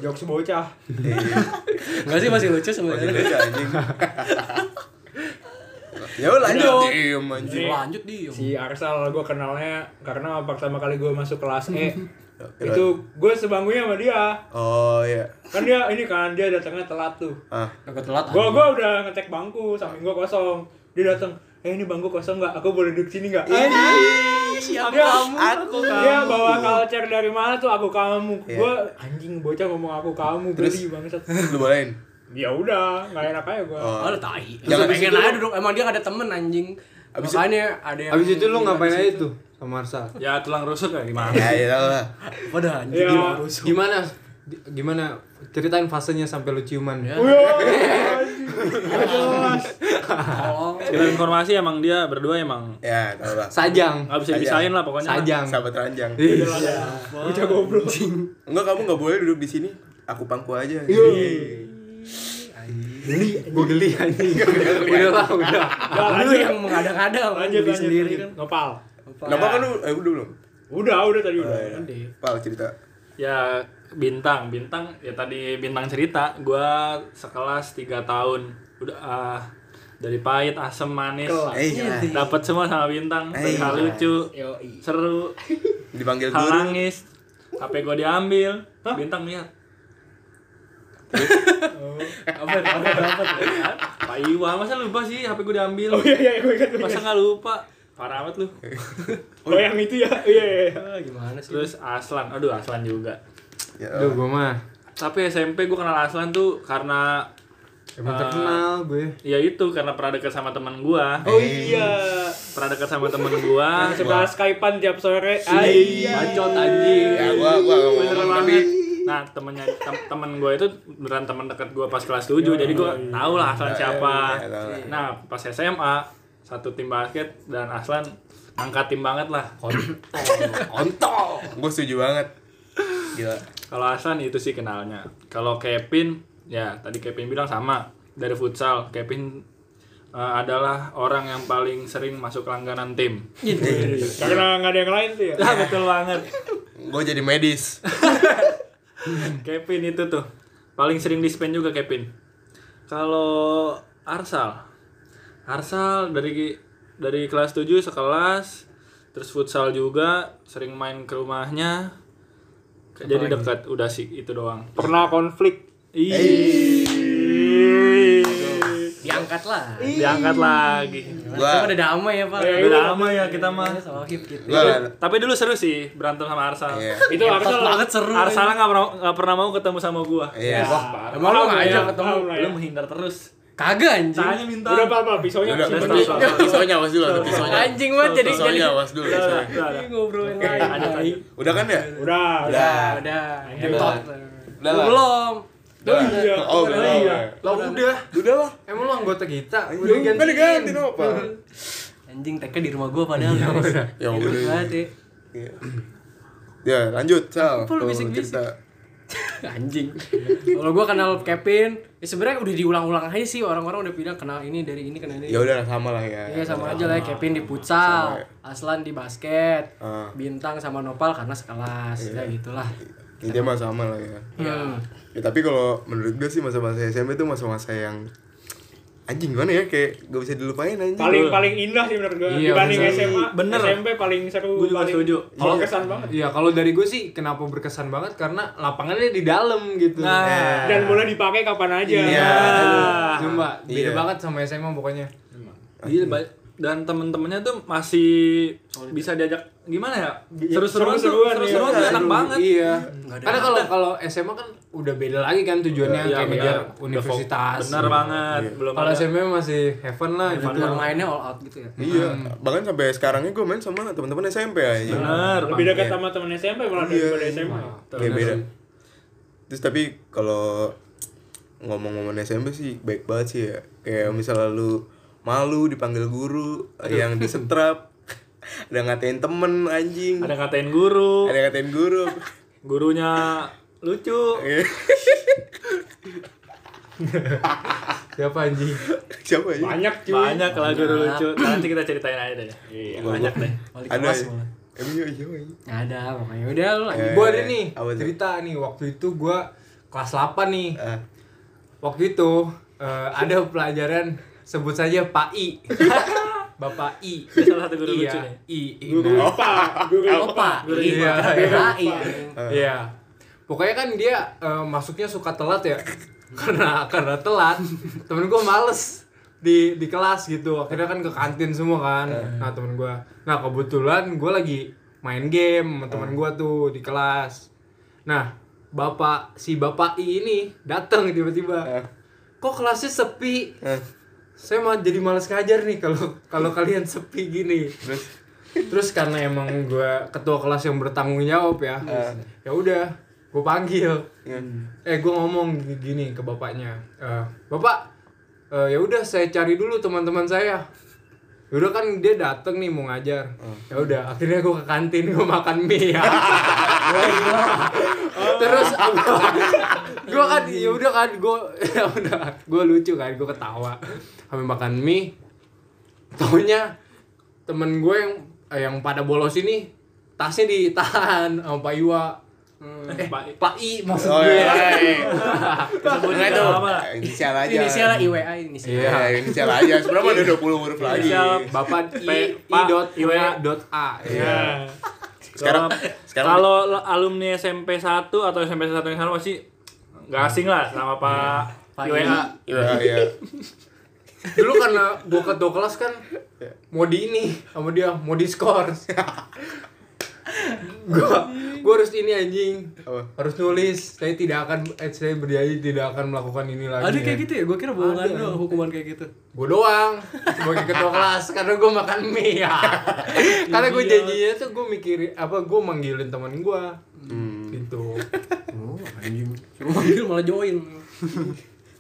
Speaker 1: jokes bocah
Speaker 3: Eh.
Speaker 2: Enggak sih masih lucu
Speaker 3: Masih
Speaker 2: sebenarnya.
Speaker 3: beda anjing. Ya udah, lanjut. Diem
Speaker 1: Ini
Speaker 3: anjing.
Speaker 2: Lanjut dia.
Speaker 1: si Arsal gua kenalnya karena pertama kali gua masuk kelas E
Speaker 3: Kira-
Speaker 1: itu gua sebangkunya sama dia
Speaker 3: Oh iya.
Speaker 1: kan dia ini kan dia datangnya telat tuh
Speaker 3: Ah.
Speaker 2: Kagak telat.
Speaker 1: gua gua udah ngecek bangku samping gua kosong dia datang eh ini bangku kosong nggak aku boleh duduk sini nggak Iya,
Speaker 2: siapa
Speaker 1: Dia-
Speaker 3: Aku
Speaker 1: dia bawa culture dari mana tuh aku kamu
Speaker 3: Iya.
Speaker 1: gua anjing bocah ngomong aku kamu
Speaker 3: Terus?
Speaker 1: geli banget
Speaker 3: Lu bolehin.
Speaker 1: ya udah nggak enak aja gua Iya.
Speaker 3: Oh.
Speaker 2: Oh, lu tai.
Speaker 3: Jangan
Speaker 2: Jangan pengen aja duduk. Emang dia gak ada temen anjing.
Speaker 3: Abis itu-
Speaker 2: Makanya ada yang
Speaker 5: Abis itu lu ngapain aja
Speaker 2: tuh?
Speaker 5: Sama Arsal.
Speaker 4: Ya tulang rusuk ya gimana?
Speaker 3: Ya ya lah.
Speaker 2: Padahal
Speaker 1: Ya.
Speaker 2: anjing gimana?
Speaker 5: Gimana? Di- gimana ceritain fasenya sampai lu ciuman
Speaker 1: Oh,
Speaker 5: ya.
Speaker 2: Iya.
Speaker 1: iya,
Speaker 2: Tolong.
Speaker 4: Kita informasi emang dia berdua emang
Speaker 3: Ya, tahu lah.
Speaker 5: Sajang.
Speaker 4: nggak bisa dipisahin lah pokoknya.
Speaker 5: Sajang.
Speaker 3: Sahabat ranjang.
Speaker 1: Bocah goblok.
Speaker 3: Enggak, kamu nggak boleh duduk di sini. Aku pangku aja.
Speaker 5: Gue geli anjing. udah lah, udah.
Speaker 2: Lu yang mengada-ngada sama
Speaker 1: Lanjut
Speaker 2: diri
Speaker 1: lanjut
Speaker 2: sendiri.
Speaker 1: sendiri kan. Nopal.
Speaker 3: Kenapa kan lu? Eh, udah belum.
Speaker 1: Udah, udah tadi
Speaker 3: Oh,
Speaker 1: udah.
Speaker 3: Pal cerita.
Speaker 4: Ya bintang, bintang ya tadi bintang cerita. Gua sekelas 3 tahun. Udah ah, dari pahit, asem, manis.
Speaker 1: Kelas.
Speaker 3: Eh, ya.
Speaker 4: Dapat semua sama bintang.
Speaker 3: Eh,
Speaker 4: Hal
Speaker 3: iya.
Speaker 4: lucu,
Speaker 1: Yoi. *laughs*
Speaker 4: seru,
Speaker 3: dipanggil
Speaker 4: hal
Speaker 3: guru.
Speaker 4: nangis. HP gua diambil. Bintang
Speaker 1: *laughs*
Speaker 4: lihat.
Speaker 2: Apa apa apa.
Speaker 4: Pak Iwa, masa lupa sih HP gua diambil?
Speaker 1: Oh iya iya gue ingat. gue
Speaker 4: Masa
Speaker 1: ingat.
Speaker 4: nggak lupa? Parah amat lu.
Speaker 1: Oh yang itu ya. Iya iya. iya.
Speaker 2: Ah, Gimana sih?
Speaker 4: Terus Aslan, aduh Aslan juga.
Speaker 3: Ya,
Speaker 5: Aduh, gue mah
Speaker 4: Tapi SMP gua kenal Aslan tuh karena
Speaker 5: emang
Speaker 4: Eh.
Speaker 5: terkenal gue.
Speaker 4: ya itu karena pernah dekat sama teman gua.
Speaker 1: Oh iya.
Speaker 4: Pernah dekat sama teman gua.
Speaker 3: Eh,
Speaker 1: Suka skypean tiap sore. Iya.
Speaker 4: Bacot anjing.
Speaker 3: ya gua gua nggak mau
Speaker 4: Bener
Speaker 3: ngomong tapi ya,
Speaker 4: banget. Nah, temennya tem- temen gue itu beneran temen dekat gue pas kelas 7, jadi gue tau lah Aslan siapa.
Speaker 3: ya, tau lah.
Speaker 4: Nah, pas SMA satu tim basket dan Aslan angkat tim banget lah.
Speaker 5: Kontol.
Speaker 3: gua setuju banget. Gila.
Speaker 4: Kalau Aslan itu sih kenalnya. Kalau Kevin, ya tadi Kevin bilang sama dari futsal. Kevin eh, adalah orang yang paling sering masuk langganan tim.
Speaker 1: Karena nggak ada yang lain tuh ya.
Speaker 4: Ah, betul banget.
Speaker 3: Gua jadi medis.
Speaker 4: Kevin itu tuh paling sering dispen juga Kevin. Kalau Arsal, Arsal dari dari kelas 7 sekelas, terus futsal juga, sering main ke rumahnya. jadi dekat udah sih itu doang.
Speaker 1: Pernah konflik.
Speaker 5: Iya,
Speaker 4: Ih.
Speaker 2: Diangkat lah.
Speaker 4: Diangkat lagi.
Speaker 2: Gua udah damai ya, Pak.
Speaker 5: iya.
Speaker 4: Udah lama ya kita mah.
Speaker 2: Udah sohib gitu.
Speaker 3: Gua kan.
Speaker 4: Tapi dulu seru sih berantem sama Arsal.
Speaker 3: Iya.
Speaker 1: Itu
Speaker 2: Ya, Pas
Speaker 1: harusnya
Speaker 2: banget seru.
Speaker 4: Arsal nggak pernah nggak pernah mau ketemu sama gua.
Speaker 3: Iya.
Speaker 2: Emang lu ngajak ketemu?
Speaker 1: Tahu lah ya.
Speaker 4: Lu menghindar terus.
Speaker 2: Kagak anjing.
Speaker 4: Tanya minta.
Speaker 1: Udah pal pal pisaunya.
Speaker 3: Udah,
Speaker 1: pisau.
Speaker 4: udah, udah.
Speaker 3: udah. Pisaunya awas dulu, ada pisaunya.
Speaker 2: Anjing banget jadi jadi
Speaker 3: Pisaunya awas dulu.
Speaker 4: Udah,
Speaker 3: pisaunya.
Speaker 4: udah, udah.
Speaker 2: ngobrolin lagi.
Speaker 3: Udah kan ya?
Speaker 1: Udah. iya. Udah.
Speaker 3: Udah.
Speaker 2: Iya, Udah.
Speaker 3: Udah. Udah lah.
Speaker 2: Belum.
Speaker 3: Udah.
Speaker 1: Iya.
Speaker 3: Oh, belum.
Speaker 5: Lah udah.
Speaker 3: Udah lah.
Speaker 5: Emang lu anggota kita.
Speaker 3: Udah ganti. ganti Nopal.
Speaker 2: Anjing TK di rumah gua padahal.
Speaker 3: Ya
Speaker 2: Ribet
Speaker 3: udah.
Speaker 2: banget ya.
Speaker 3: Iya. Ya, lanjut, Sal.
Speaker 2: Apa lu
Speaker 3: Tuh,
Speaker 2: bisik-bisik?
Speaker 3: cerita.
Speaker 2: anjing kalau gua kenal Kevin ya sebenarnya udah diulang-ulang aja sih orang-orang udah bilang kenal ini dari ini kenal ini
Speaker 3: Ya udah sama lah ya.
Speaker 2: Iya sama aja lah ya, Kevin di futsal,
Speaker 3: Sama ya.
Speaker 2: Aslan di basket,
Speaker 3: Ah.
Speaker 2: Bintang sama Nopal karena sekelas, ya gitulah.
Speaker 3: Intinya mah sama lah ya.
Speaker 2: Hmm.
Speaker 3: Ya tapi kalau menurut gue sih masa-masa SMP tuh masa-masa yang anjing gimana ya kayak gak bisa dilupain anjing.
Speaker 1: Paling paling indah sih menurut gue
Speaker 5: Iya,
Speaker 1: dibanding
Speaker 5: bener.
Speaker 1: SMA.
Speaker 4: Bener.
Speaker 1: SMP paling seru.
Speaker 4: Gua juga
Speaker 1: paling
Speaker 4: setuju.
Speaker 1: Kalau kesan banget.
Speaker 5: Iya, kalau dari gue sih kenapa berkesan banget karena lapangannya di dalam gitu.
Speaker 4: Nah,
Speaker 1: Dan boleh dipakai kapan aja.
Speaker 3: Iya.
Speaker 5: Cuma
Speaker 3: Iya.
Speaker 5: beda banget sama SMA pokoknya.
Speaker 4: Gila, ba- Iya, dan temen-temennya tuh masih bisa diajak gimana ya? Seru-seruan tuh,
Speaker 1: Seru-seruan,
Speaker 4: seru-seruan
Speaker 1: iya.
Speaker 4: tuh enak
Speaker 5: Aduh,
Speaker 4: banget.
Speaker 5: Iya.
Speaker 2: Nggak ada
Speaker 5: Karena kalau kalau SMA kan udah beda lagi kan tujuannya
Speaker 4: Iya,
Speaker 5: kayak
Speaker 4: benar.
Speaker 5: ngejar
Speaker 4: Udah
Speaker 5: universitas.
Speaker 4: fo- Bener banget. Belum
Speaker 5: Kalau
Speaker 4: ada.
Speaker 5: SMA masih heaven lah gitu.
Speaker 2: Bermainnya all out gitu ya.
Speaker 3: Iya, bahkan sampai sekarangnya gue main sama teman-teman SMP anjing.
Speaker 4: Bener.
Speaker 1: Lebih dekat sama temen SMP
Speaker 3: Iya,
Speaker 1: malah daripada SMA.
Speaker 3: Kayak beda. Terus tapi kalau ngomong-ngomong SMP sih baik banget sih ya. Kayak misalnya lu malu dipanggil guru yang disetrap *laughs* ada ngatain temen anjing
Speaker 4: Ada yang katain guru,
Speaker 3: ada yang ngatain guru *laughs*
Speaker 4: gurunya lucu.
Speaker 3: Iya.
Speaker 5: Siapa anjing?
Speaker 3: siapa ya
Speaker 1: Banyak cuy.
Speaker 4: Banyak lah guru lucu. Nanti kita ceritain aja deh. Iya, banyak deh.
Speaker 2: Wali
Speaker 3: ada
Speaker 2: kelas
Speaker 3: ya?
Speaker 2: malah.
Speaker 3: emang iya, siapa ya
Speaker 2: Nggak ada, pokoknya udah lu lanjut.
Speaker 3: Eh,
Speaker 5: Gue ada nih
Speaker 3: apa tuh?
Speaker 5: cerita nih waktu itu gue kelas 8 nih.
Speaker 3: Ah.
Speaker 5: Waktu itu eh, ada pelajaran sebut saja Pak *laughs* I. Bapak I.
Speaker 4: Dia salah satu guru
Speaker 5: iya,
Speaker 4: lucu nih.
Speaker 5: I. I.
Speaker 1: Guru
Speaker 5: Nah,
Speaker 1: lupa. Guru lupa.
Speaker 2: Opa,
Speaker 5: Iya,
Speaker 2: iya,
Speaker 5: iya.
Speaker 2: BKI.
Speaker 5: Iya. Pokoknya kan dia eh, masuknya suka telat ya. *laughs* karena karena telat, temen gue males di di kelas gitu. Akhirnya kan ke kantin semua kan. Nah, temen gue. Nah, kebetulan gue lagi main game sama temen gue tuh di kelas. Nah, bapak si bapak I ini datang tiba-tiba. Kok kelasnya sepi?
Speaker 3: Eh,
Speaker 5: Saya mah jadi males ngajar nih kalau kalau kalian sepi gini.
Speaker 3: terus
Speaker 5: Terus karena emang gue ketua kelas yang bertanggung jawab ya, ya udah, gue panggil
Speaker 3: Iya.
Speaker 5: eh gue ngomong gini, gini ke bapaknya Eh, bapak eh, ya udah saya cari dulu teman-teman saya udah kan dia dateng nih mau ngajar ya udah akhirnya gue ke kantin gue makan mie ya. terus gue kan ya udah kan gue ya udah gue lucu kan gue ketawa habis makan mie taunya temen gue yang eh, yang pada bolos ini tasnya ditahan sama Pak Iwa eh,
Speaker 4: Pak I.
Speaker 5: Pak I maksud
Speaker 3: Oh,
Speaker 5: gue
Speaker 3: iya, iya. Nah,
Speaker 2: Sebutnya
Speaker 3: itu Eh,
Speaker 2: itu.
Speaker 3: inisial aja.
Speaker 2: Inisial lah, IWA inisial.
Speaker 3: Iya, inisial aja. Sebenarnya ada 20 huruf lagi.
Speaker 4: Inisial.
Speaker 5: Bapak I,
Speaker 4: P- Pak
Speaker 5: I dot
Speaker 4: Iwa.
Speaker 5: Iwa dot A
Speaker 3: Oh.
Speaker 1: Ya.
Speaker 5: Iya.
Speaker 3: Sekarang sekarang Oh,
Speaker 4: kalau l- alumni SMP 1 atau SMP 1 yang sama masih nggak asing lah sama Pak
Speaker 2: Pak
Speaker 4: IWA.
Speaker 3: Iya, iya.
Speaker 5: dulu karena gue ke dua kelas kan mau di ini sama dia mau di *laughs* skor gue gue harus ini anjing
Speaker 3: Apa?
Speaker 5: harus nulis saya tidak akan eh, saya berjanji tidak akan melakukan ini lagi
Speaker 2: Ada kayak gitu ya? Gue kira bohongan doang hukuman kayak gitu.
Speaker 5: gue doang sebagai *laughs* ketua kelas karena gue makan mie ya karena gue janjinya tuh gue mikirin apa gue manggilin teman gue gitu
Speaker 2: Suruh manggil malah join.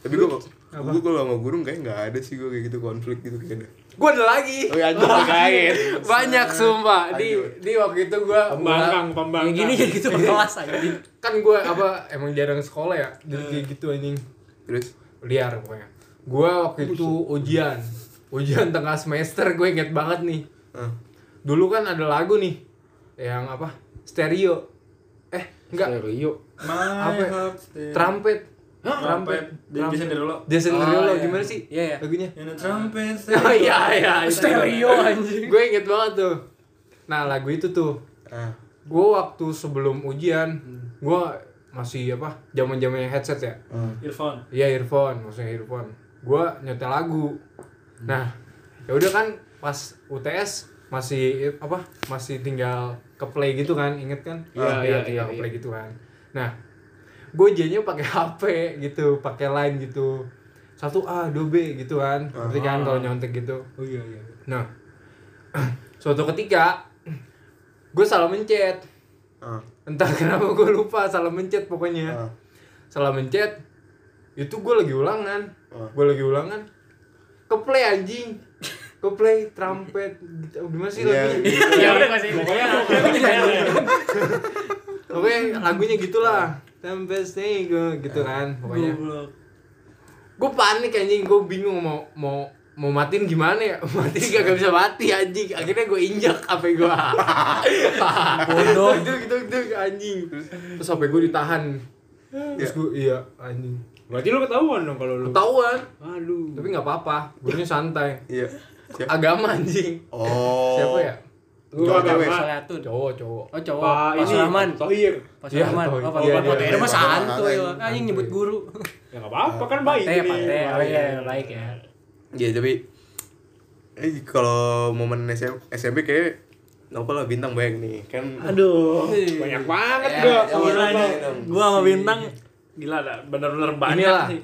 Speaker 3: Tapi gua gua kalau sama guru kayaknya nggak ada sih gua kayak gitu konflik gitu kayaknya.
Speaker 5: gue ada lagi
Speaker 3: Oh, anjing kaget.
Speaker 5: banyak sumpah di di waktu itu gue
Speaker 1: Pembangkang, pembangkang.
Speaker 2: Kayak gini kayak gitu per kelas aja.
Speaker 5: kan gue apa emang jarang sekolah ya jadi kayak gitu anjing
Speaker 3: Terus
Speaker 5: liar pokoknya gue waktu itu ujian ujian tengah semester gue inget banget nih
Speaker 3: eh,
Speaker 5: dulu kan ada lagu nih yang apa stereo eh enggak
Speaker 2: Rio.
Speaker 5: apa ya? trumpet trumpet
Speaker 4: Dia bisa sendiri dulu.
Speaker 5: dia sendiri
Speaker 2: Oh,
Speaker 5: lo
Speaker 2: iya.
Speaker 5: gimana sih
Speaker 2: Iya, iya.
Speaker 5: lagunya
Speaker 4: In a trumpet.
Speaker 5: *laughs*
Speaker 4: *laughs*
Speaker 5: oh iya iya
Speaker 2: Stereo anjing.
Speaker 5: gue inget banget tuh nah lagu itu tuh
Speaker 3: ah,
Speaker 5: gue waktu sebelum ujian gue masih apa zaman zamannya headset ya
Speaker 2: Hmm.
Speaker 4: Earphone.
Speaker 5: Iya earphone, maksudnya earphone. Gua nyetel
Speaker 2: Hmm.
Speaker 5: lagu. Nah, ya udah kan pas UTS masih eh, apa? Masih tinggal ke play gitu kan, inget kan?
Speaker 2: Iya, iya,
Speaker 5: tinggal
Speaker 2: iya,
Speaker 5: ke
Speaker 2: iya.
Speaker 5: play gitu kan. Nah, gue jadinya pakai *laughs* HP gitu, pakai line gitu. Satu A, 2 B gitu kan. Ngerti kan kalau nyontek gitu.
Speaker 1: Oh iya iya.
Speaker 5: Nah, suatu ketika gue salah mencet.
Speaker 3: ah,
Speaker 5: Entah *laughs* kenapa gue lupa salah mencet pokoknya
Speaker 3: ah.
Speaker 5: salah mencet itu gue lagi ulangan
Speaker 3: Ah.
Speaker 5: gue lagi ulangan ke play anjing ke play trumpet gitu. Oh, gimana sih lagunya
Speaker 3: Iya.
Speaker 2: Ya udah kasih.
Speaker 1: Pokoknya pokoknya
Speaker 5: oke lagunya gitulah tempest nego gitu kan pokoknya gue panik anjing gue bingung mau mau mau matiin gimana ya *laughs* matiin gak, gak bisa mati anjing akhirnya gue injak hp gue bodoh *laughs* gitu gitu anjing terus hp gue ditahan terus gue iya anjing
Speaker 1: Berarti lu ketahuan dong kalau lu.
Speaker 5: ketahuan
Speaker 1: Aduh.
Speaker 5: tapi nggak apa-apa gurunya santai
Speaker 3: Iya. Siap.
Speaker 5: agama anjing
Speaker 3: Oh.
Speaker 5: siapa ya
Speaker 1: Lu
Speaker 3: Cowok,
Speaker 1: agama.
Speaker 3: cewek.
Speaker 2: Salatun.
Speaker 5: cowok cowok
Speaker 2: Oh cowok.
Speaker 1: Pak
Speaker 2: Pak
Speaker 1: ini
Speaker 2: Surahman.
Speaker 1: Tohir.
Speaker 2: Pak
Speaker 5: Iya,
Speaker 2: Surahman.
Speaker 5: Tohir.
Speaker 2: Oh Pak
Speaker 5: Iya,
Speaker 2: Surahman.
Speaker 5: iya,
Speaker 2: Itu mah
Speaker 3: iya.
Speaker 2: santuy
Speaker 3: Santuy.
Speaker 2: lah. Anjing nyebut guru.
Speaker 1: Ya enggak apa-apa kan baik
Speaker 2: Pantai,
Speaker 1: ini.
Speaker 2: pantai. Oh iya, baik ya.
Speaker 3: Iya, tapi eh kalau momen SM, SMP kayak Nopal lah bintang banyak nih kan
Speaker 4: Aduh.
Speaker 1: Banyak banget
Speaker 3: Eh,
Speaker 1: gua.
Speaker 3: jangan
Speaker 1: Gila
Speaker 3: lupa.
Speaker 1: nih.
Speaker 4: Gua sama Bintang gila dah bener-bener banyak
Speaker 5: inilah
Speaker 4: sih.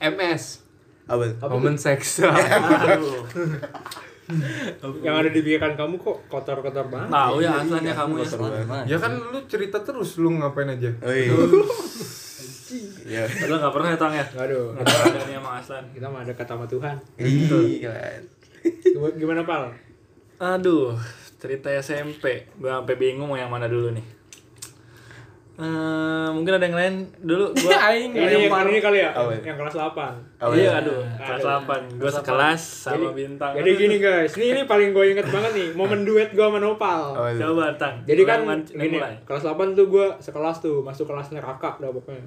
Speaker 5: MS
Speaker 3: apa
Speaker 5: momen seks
Speaker 4: Aduh.
Speaker 1: Yang ada di pikiran kamu kok kotor-kotor banget.
Speaker 4: Tahu ya aslinya kamu ya.
Speaker 3: Kotor banget.
Speaker 5: ya kan lu cerita terus lu ngapain aja
Speaker 3: Oi. Iya.
Speaker 4: Padahal nggak pernah ya Tang ya.
Speaker 1: Aduh.
Speaker 4: Nggak pernah adanya sama Aslan.
Speaker 1: Kita mah dekat sama Tuhan.
Speaker 3: Ih, kan.
Speaker 1: Gimana- Gimana pal?
Speaker 4: Aduh, cerita SMP. Gua sampai bingung mau yang mana dulu nih. Eh, mungkin ada yang lain dulu
Speaker 1: *laughs*
Speaker 4: gua.
Speaker 1: Iya,
Speaker 2: Aing
Speaker 1: Ini yang
Speaker 2: lempar.
Speaker 1: ini kali ya,
Speaker 3: Apa?
Speaker 1: yang kelas 8
Speaker 3: Apa
Speaker 4: iya,
Speaker 3: ya?
Speaker 4: aduh, kelas
Speaker 1: Aduh.
Speaker 4: 8. Gua sekelas sama Bintang.
Speaker 1: Jadi gini guys, ini ini paling gue inget banget nih, momen duet gue sama Nopal.
Speaker 3: Apa itu?
Speaker 4: Coba Tang.
Speaker 1: Jadi kan
Speaker 4: Mulai, mulai.
Speaker 1: gini, kelas 8 tuh gue sekelas tuh, masuk kelas neraka dah pokoknya.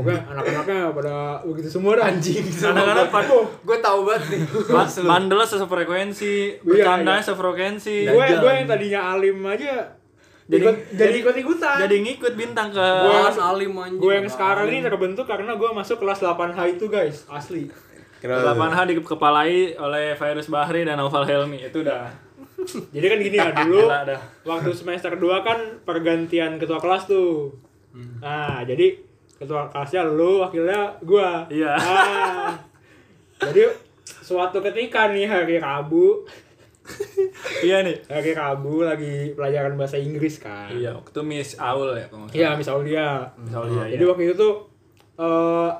Speaker 1: Pokoknya anak-anaknya pada begitu semua dah. Anjing.
Speaker 4: Anak-anak pada
Speaker 5: gue tahu banget nih
Speaker 4: Ba- bandelnya
Speaker 1: Iya,
Speaker 4: sefrekuensi, bercanda sefrekuensi.
Speaker 1: Gue gue yang tadinya alim aja jadi
Speaker 4: Jadi-
Speaker 1: jadi
Speaker 4: jadi-
Speaker 1: ikut ikutan.
Speaker 4: Jadi ngikut bintang ke
Speaker 1: Gua-
Speaker 2: Alas alim anjing.
Speaker 1: gue
Speaker 4: Iya,
Speaker 1: yang sekarang ini terbentuk karena gue masuk kelas 8H itu guys, asli.
Speaker 3: Kenapa?
Speaker 4: 8H dikepalai oleh Virus Bahri dan Noval Helmi. Itu udah
Speaker 1: Jadi kan
Speaker 4: *laughs*
Speaker 1: gini ya dulu.
Speaker 4: gila dah.
Speaker 1: waktu semester 2 kan pergantian ketua kelas tuh.
Speaker 4: Hmm.
Speaker 1: Nah, jadi ketua kelasnya lu, wakilnya gua.
Speaker 4: Iya.
Speaker 1: Nah, jadi suatu ketika nih hari Rabu
Speaker 4: iya nih
Speaker 1: lagi kabu lagi pelajaran bahasa Inggris kan
Speaker 4: iya Nah, waktu itu Miss Aul ya kalau nggak
Speaker 1: iya misal dia
Speaker 3: Oh,
Speaker 4: misalnya iya.
Speaker 1: jadi
Speaker 3: iya.
Speaker 1: waktu itu tuh eh